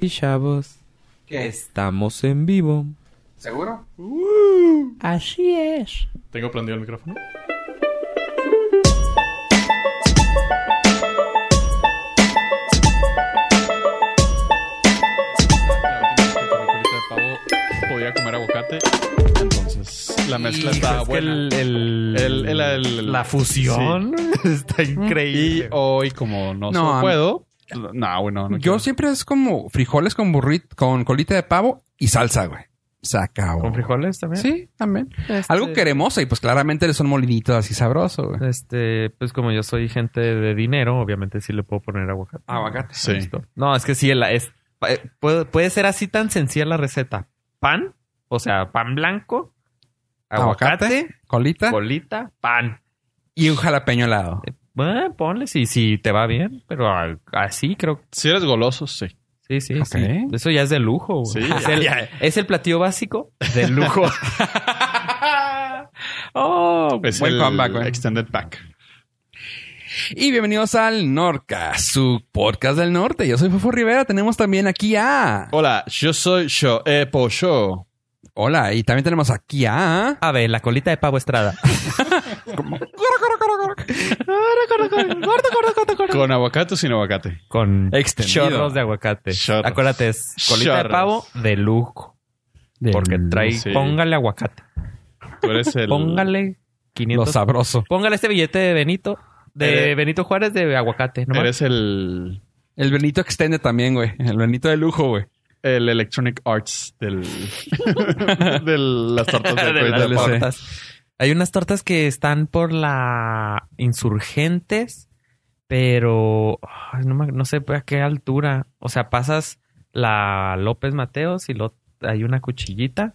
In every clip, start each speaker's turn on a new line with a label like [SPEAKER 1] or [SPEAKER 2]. [SPEAKER 1] Y chavos,
[SPEAKER 2] ¿Qué?
[SPEAKER 1] estamos en vivo.
[SPEAKER 2] ¿Seguro?
[SPEAKER 1] Así es.
[SPEAKER 3] Tengo prendido el micrófono. La última vez que comí colita de pavo, Podía comer aguacate. Entonces, la mezcla estaba
[SPEAKER 4] Es que
[SPEAKER 3] buena.
[SPEAKER 4] el- el-
[SPEAKER 3] El- el- el-
[SPEAKER 4] la fusión está
[SPEAKER 3] Y
[SPEAKER 4] increíble.
[SPEAKER 3] hoy, como no,
[SPEAKER 2] No,
[SPEAKER 3] so
[SPEAKER 2] a mí-
[SPEAKER 3] puedo. No, güey, no, no
[SPEAKER 2] Yo
[SPEAKER 3] quiero.
[SPEAKER 2] siempre es como frijoles con burrito, con colita de pavo y salsa, güey. Se acabó.
[SPEAKER 4] ¿Con frijoles también?
[SPEAKER 2] Sí, también.
[SPEAKER 4] Este-
[SPEAKER 2] Algo cremoso y pues claramente son molinitos así sabroso, güey.
[SPEAKER 4] Este, pues como yo soy gente de dinero, obviamente sí le puedo poner aguacate.
[SPEAKER 2] Aguacate.
[SPEAKER 3] Sí.
[SPEAKER 4] Listo. No, es que sí, la- es, eh, puede, puede ser así tan sencilla la receta. Pan, o sea, pan blanco, aguacate,
[SPEAKER 2] Colita
[SPEAKER 4] colita, pan.
[SPEAKER 2] y un jalapeño al lado.
[SPEAKER 4] Eh, ponle si, si te va bien, pero al- así creo que
[SPEAKER 3] Si eres goloso, sí.
[SPEAKER 4] sí, sí,
[SPEAKER 2] Ok.
[SPEAKER 4] sí. Eso ya es de lujo. güey.
[SPEAKER 3] Sí,
[SPEAKER 4] es,
[SPEAKER 3] ya,
[SPEAKER 4] el,
[SPEAKER 3] ya.
[SPEAKER 4] es el platillo básico de lujo. oh,
[SPEAKER 3] Es
[SPEAKER 2] Buen
[SPEAKER 3] el
[SPEAKER 2] comeback, güey.
[SPEAKER 3] Extended Pack.
[SPEAKER 2] Y bienvenidos al Norca, su podcast del norte. Yo soy Fofo Rivera. Tenemos también aquí a.
[SPEAKER 3] Hola, yo soy yo, eh, Pollo.
[SPEAKER 2] Hola, y también tenemos aquí a.
[SPEAKER 4] A ver, la colita de pavo estrada.
[SPEAKER 3] Con aguacate o sin aguacate.
[SPEAKER 4] Con
[SPEAKER 2] Extendido.
[SPEAKER 4] chorros de aguacate.
[SPEAKER 3] Chorros.
[SPEAKER 4] Acuérdate, es colita de
[SPEAKER 3] Chorros.
[SPEAKER 4] pavo de lujo. Porque trae,
[SPEAKER 3] lujo.
[SPEAKER 4] póngale aguacate.
[SPEAKER 3] Tú eres el.
[SPEAKER 4] Póngale
[SPEAKER 2] Lo
[SPEAKER 4] 500.
[SPEAKER 2] sabroso.
[SPEAKER 4] póngale este billete de Benito. De
[SPEAKER 3] Eres-
[SPEAKER 4] Benito Juárez de aguacate. ¿no?
[SPEAKER 3] Eres el.
[SPEAKER 2] El Benito extende también, güey. El Benito de lujo, güey.
[SPEAKER 3] El Electronic Arts del. de las tortas de,
[SPEAKER 4] De
[SPEAKER 3] colita
[SPEAKER 4] las
[SPEAKER 3] de pavo.
[SPEAKER 4] tortas. Hay unas tortas que están por la insurgentes, pero ay, no, me- no sé a qué altura. O sea, pasas la López Mateos y lo, hay una cuchillita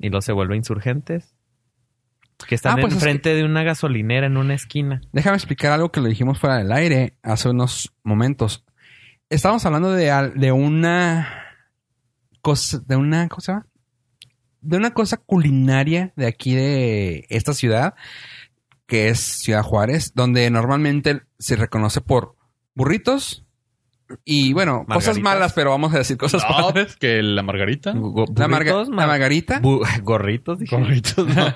[SPEAKER 4] y luego se vuelve insurgentes. Que están
[SPEAKER 2] Ah, pues es
[SPEAKER 4] enfrente de una gasolinera en una esquina.
[SPEAKER 2] Déjame explicar algo que lo dijimos fuera del aire hace unos momentos. Estábamos hablando de, al- de una cosa, de una, ¿cómo se llama? De una cosa culinaria de aquí de esta ciudad, que es Ciudad Juárez, donde normalmente se reconoce por burritos y, bueno, cosas
[SPEAKER 4] Margaritas.
[SPEAKER 2] malas, pero vamos a decir cosas
[SPEAKER 3] No,
[SPEAKER 2] padres.
[SPEAKER 3] que la margarita.
[SPEAKER 2] Ah. La, marga-
[SPEAKER 4] Burritos,
[SPEAKER 2] la
[SPEAKER 4] mar-
[SPEAKER 2] margarita,
[SPEAKER 4] Bu- gorritos, dije.
[SPEAKER 3] Gorritos, no.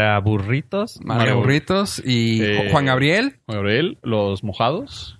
[SPEAKER 4] Margaraburritos.
[SPEAKER 3] marga-
[SPEAKER 2] burritos y
[SPEAKER 3] Eh,
[SPEAKER 2] Juan Gabriel
[SPEAKER 3] Gabriel, los mojados.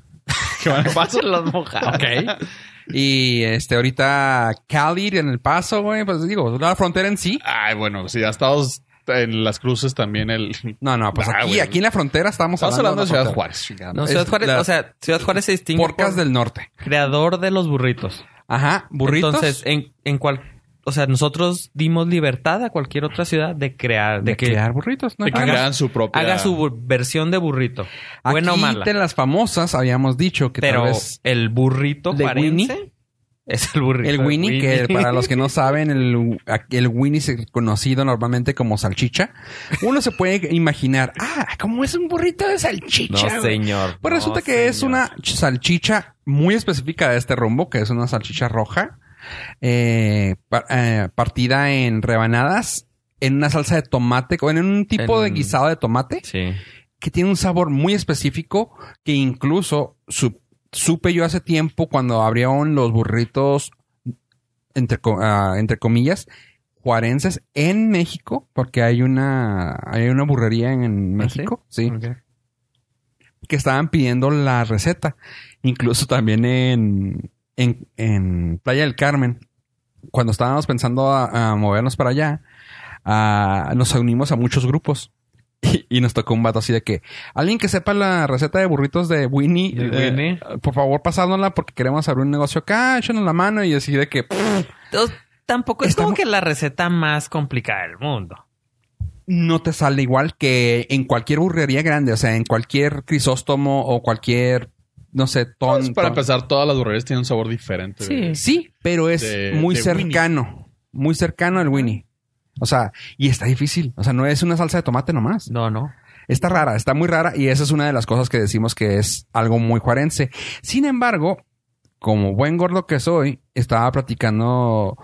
[SPEAKER 3] Que van a pasar.
[SPEAKER 4] Los mojados.
[SPEAKER 3] ok.
[SPEAKER 2] y este ahorita Cali en El Paso, güey, pues digo, la frontera en sí.
[SPEAKER 3] Ay, bueno, si ya estamos en las cruces también el.
[SPEAKER 2] No, no, pues
[SPEAKER 3] Ah,
[SPEAKER 2] aquí,
[SPEAKER 3] güey.
[SPEAKER 2] aquí en la frontera estamos,
[SPEAKER 3] Estamos hablando de
[SPEAKER 2] la
[SPEAKER 3] Ciudad
[SPEAKER 2] frontera.
[SPEAKER 3] Juárez. chingada.
[SPEAKER 4] No, Ciudad
[SPEAKER 2] Es
[SPEAKER 4] Juárez,
[SPEAKER 2] la-
[SPEAKER 4] o sea, Ciudad Juárez se distingue
[SPEAKER 2] Porcas
[SPEAKER 4] por
[SPEAKER 2] del norte.
[SPEAKER 4] creador de los burritos.
[SPEAKER 2] Ajá, burritos.
[SPEAKER 4] Entonces, en, en cual, o sea, nosotros dimos libertad a cualquier otra ciudad de crear, de,
[SPEAKER 2] de
[SPEAKER 4] que
[SPEAKER 2] crear burritos, ¿no?
[SPEAKER 3] De que
[SPEAKER 2] Hagas-
[SPEAKER 3] crean su propia. Pues,
[SPEAKER 4] haga su bur- versión de burrito, buena o
[SPEAKER 2] aquí
[SPEAKER 4] mala.
[SPEAKER 2] de las famosas habíamos dicho que
[SPEAKER 4] Pero
[SPEAKER 2] tal vez
[SPEAKER 4] el burrito
[SPEAKER 2] ¿De
[SPEAKER 4] juarense
[SPEAKER 2] Winnie?
[SPEAKER 4] es el burrito.
[SPEAKER 2] el
[SPEAKER 4] de
[SPEAKER 2] Winnie, que para los que no saben, el, el Winnie es conocido normalmente como salchicha. Uno se puede imaginar, ah, ¿cómo es un burrito de
[SPEAKER 4] no,
[SPEAKER 2] salchicha? güey?
[SPEAKER 4] señor.
[SPEAKER 2] Pues resulta
[SPEAKER 4] no,
[SPEAKER 2] que es
[SPEAKER 4] señor.
[SPEAKER 2] una ch- salchicha muy específica de este rumbo, que es una salchicha roja, eh, par- eh, partida en rebanadas, en una salsa de tomate, o en un tipo de
[SPEAKER 4] En-
[SPEAKER 2] guisado de tomate,
[SPEAKER 4] Sí.
[SPEAKER 2] que tiene un sabor muy específico, que incluso su- supe yo hace tiempo cuando abrieron los burritos, entre, co- ah, entre comillas, juarenses en México, porque hay una, hay una burrería en, en
[SPEAKER 4] ¿Ah, sí?
[SPEAKER 2] México, sí que estaban pidiendo la receta. Incluso también en, en, en Playa del Carmen, cuando estábamos pensando a, a movernos para allá, ah, nos unimos a muchos grupos. Y, y nos tocó un vato así de que alguien que sepa la receta de burritos de Winnie,
[SPEAKER 4] ¿De
[SPEAKER 2] eh,
[SPEAKER 4] Winnie?
[SPEAKER 2] por favor, pasándola porque queremos abrir un negocio acá, échenos la mano y así de que pff,
[SPEAKER 4] Entonces, tampoco es
[SPEAKER 2] Estamos-
[SPEAKER 4] como que la receta más complicada del mundo.
[SPEAKER 2] no te sale igual que en cualquier burrería grande, o sea, en cualquier crisóstomo o cualquier, no sé, ton,
[SPEAKER 3] Pues, para
[SPEAKER 2] ton-
[SPEAKER 3] empezar, todas las burrerías tienen un sabor diferente.
[SPEAKER 4] Sí.
[SPEAKER 2] Sí, pero es
[SPEAKER 3] de-
[SPEAKER 2] muy
[SPEAKER 3] de
[SPEAKER 2] cercano. Muy cercano el Winnie. O sea, y está difícil. O sea, no es una salsa de tomate nomás.
[SPEAKER 4] No, no.
[SPEAKER 2] Está rara, está muy rara. Y esa es una de las cosas que decimos que es algo muy juarense. Sin embargo, como buen gordo que soy, estaba platicando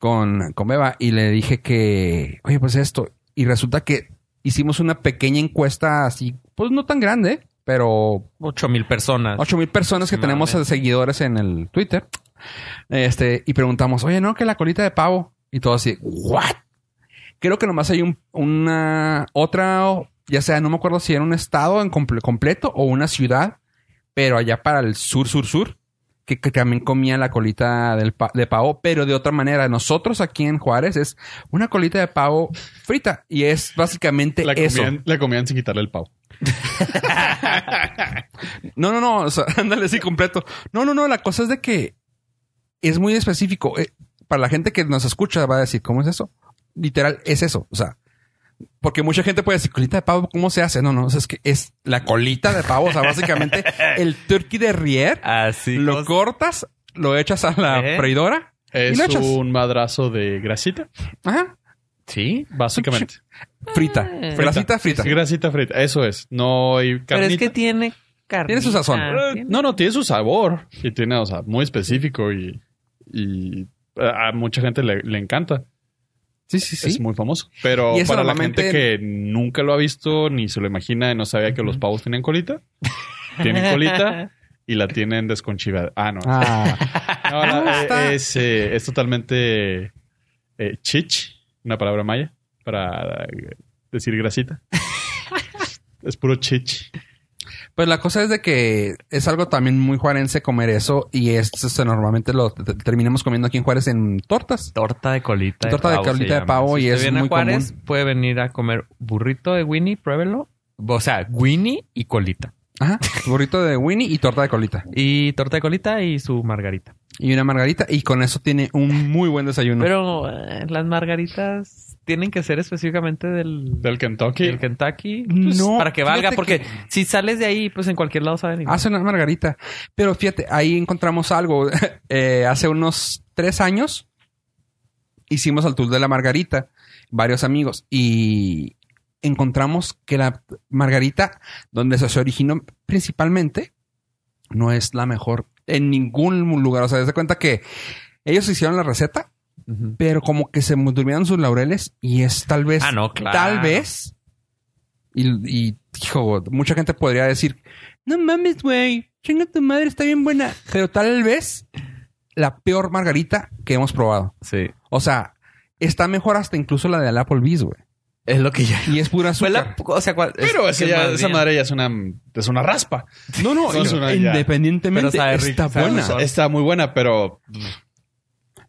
[SPEAKER 2] con, con Beba y le dije que, oye, pues esto. Y resulta que hicimos una pequeña encuesta así, pues no tan grande, pero
[SPEAKER 4] Ocho mil personas.
[SPEAKER 2] ocho mil personas que
[SPEAKER 4] Madre.
[SPEAKER 2] tenemos de seguidores en el Twitter. Este, y preguntamos, oye, no, que la colita de pavo. Y todo así, ¿what? Creo que nomás hay un- una otra, o- ya sea, no me acuerdo si era un estado en comple- completo o una ciudad, pero allá para el sur, sur, sur, que, que también comía la colita del pa- de pavo, pero de otra manera. Nosotros aquí en Juárez es una colita de pavo frita y es básicamente
[SPEAKER 3] La
[SPEAKER 2] eso.
[SPEAKER 3] comían, la comían sin quitarle el pavo.
[SPEAKER 2] No, no, no. O sea, ándale así completo. No, no, no. La cosa es de que es muy específico. Eh, para la gente que nos escucha va a decir, ¿cómo es eso? Literal, es eso. O sea, porque mucha gente puede decir, colita de pavo, ¿cómo se hace? No, no. o sea, es que es la colita de pavo. O sea, básicamente el turkey de rier.
[SPEAKER 4] Así.
[SPEAKER 2] lo cortas, lo echas a la
[SPEAKER 4] ¿Eh?
[SPEAKER 2] freidora.
[SPEAKER 3] Es
[SPEAKER 2] lo echas?
[SPEAKER 3] un madrazo de grasita,
[SPEAKER 2] Ajá.
[SPEAKER 4] Sí.
[SPEAKER 3] básicamente.
[SPEAKER 2] Frita.
[SPEAKER 4] Ah.
[SPEAKER 2] Grasita frita.
[SPEAKER 3] Es grasita frita. Eso es. No hay carnita.
[SPEAKER 4] Pero es que tiene carne.
[SPEAKER 2] Tiene su sazón.
[SPEAKER 3] Eh, No, no, tiene su sabor. Y tiene, o sea, muy específico y, y a a mucha gente le, le encanta.
[SPEAKER 2] Sí, sí, sí.
[SPEAKER 3] Es muy famoso. Pero
[SPEAKER 2] Y eso
[SPEAKER 3] para la
[SPEAKER 2] normalmente-
[SPEAKER 3] gente que nunca lo ha visto, ni se lo imagina, no sabía que los pavos tenían colita, tienen colita y la tienen desconchivada. Ah, no.
[SPEAKER 2] Ah,
[SPEAKER 3] No, la-
[SPEAKER 2] No, está-
[SPEAKER 3] es, eh, es totalmente eh, chich, una palabra maya, para eh, decir grasita. es puro chich.
[SPEAKER 2] Pues la cosa es de que es algo también muy juarense comer eso y esto se- normalmente lo t- terminamos comiendo aquí en Juárez en tortas.
[SPEAKER 4] Torta de colita.
[SPEAKER 2] Torta de
[SPEAKER 4] pavo se
[SPEAKER 2] colita de
[SPEAKER 4] llama.
[SPEAKER 2] pavo y
[SPEAKER 4] si usted
[SPEAKER 2] es
[SPEAKER 4] viene
[SPEAKER 2] muy
[SPEAKER 4] a Juárez, puede venir a comer burrito de Winnie, pruébelo. O sea, Winnie y colita.
[SPEAKER 2] Ajá. Burrito de Winnie y torta de colita.
[SPEAKER 4] Y torta de colita y su margarita.
[SPEAKER 2] Y una margarita y con eso tiene un muy buen desayuno.
[SPEAKER 4] Pero eh, las margaritas tienen que ser específicamente del,
[SPEAKER 3] Del Kentucky.
[SPEAKER 4] del Kentucky.
[SPEAKER 2] Pues,
[SPEAKER 4] no. Para que valga,
[SPEAKER 2] fíjate
[SPEAKER 4] porque
[SPEAKER 2] que-
[SPEAKER 4] si sales de ahí, pues en cualquier lado saben igual.
[SPEAKER 2] Hace una margarita. Pero fíjate, ahí encontramos algo. Eh, hace unos tres años hicimos el tour de la margarita, varios amigos, y encontramos que la margarita, donde se originó principalmente, no es la mejor en ningún lugar. O sea, se cuenta que ellos hicieron la receta,
[SPEAKER 4] Ujú.
[SPEAKER 2] pero como que se durmieron sus laureles y es tal vez
[SPEAKER 4] Ah, no, claro.
[SPEAKER 2] tal vez. Y, y, hijo, mucha gente podría decir, no mames, güey, chinga tu madre, está bien buena. Pero tal vez la peor margarita que hemos probado.
[SPEAKER 4] Sí.
[SPEAKER 2] O sea, está mejor hasta incluso la de Applebee's, güey.
[SPEAKER 4] Es lo que ya.
[SPEAKER 2] Y es pura
[SPEAKER 4] Fue la-
[SPEAKER 2] azúcar.
[SPEAKER 4] o sea, cual-
[SPEAKER 3] Pero
[SPEAKER 4] es-
[SPEAKER 3] esa,
[SPEAKER 4] que
[SPEAKER 3] ya-
[SPEAKER 4] más
[SPEAKER 3] esa
[SPEAKER 4] bien-
[SPEAKER 3] madre ya es una, es una raspa.
[SPEAKER 2] No, no,
[SPEAKER 3] No, es una ya.
[SPEAKER 2] independientemente
[SPEAKER 4] Pero sabe rico,
[SPEAKER 2] está
[SPEAKER 4] sabe
[SPEAKER 2] buena.
[SPEAKER 4] dulzón.
[SPEAKER 3] Está muy buena, pero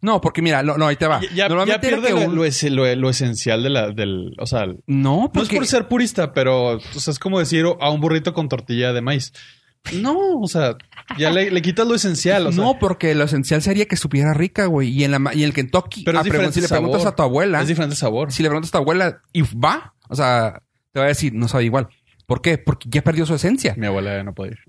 [SPEAKER 2] No, porque mira, lo- no, ahí te va.
[SPEAKER 3] ya, ya
[SPEAKER 2] Normalmente era
[SPEAKER 3] pierde
[SPEAKER 2] que
[SPEAKER 3] lo,
[SPEAKER 2] un-
[SPEAKER 3] lo es- lo- lo esencial de la, del... O sea, no
[SPEAKER 2] No,
[SPEAKER 3] es
[SPEAKER 2] porque...
[SPEAKER 3] por ser purista, pero o sea, es como decir a un burrito con tortilla de maíz. No, o sea, ya le, le quitas lo esencial. O sea,
[SPEAKER 2] no, porque lo esencial sería que supiera rica, güey. Y en la ma- y el Kentucky,
[SPEAKER 3] Pero es
[SPEAKER 2] ah, pregun-
[SPEAKER 3] diferente
[SPEAKER 2] si le
[SPEAKER 3] sabor.
[SPEAKER 2] preguntas a tu abuela,
[SPEAKER 3] es diferente sabor.
[SPEAKER 2] si le preguntas a tu abuela y va, o sea, te va a decir, no sabe igual. ¿Por qué? Porque ya perdió su esencia.
[SPEAKER 3] Mi abuela no puede ir.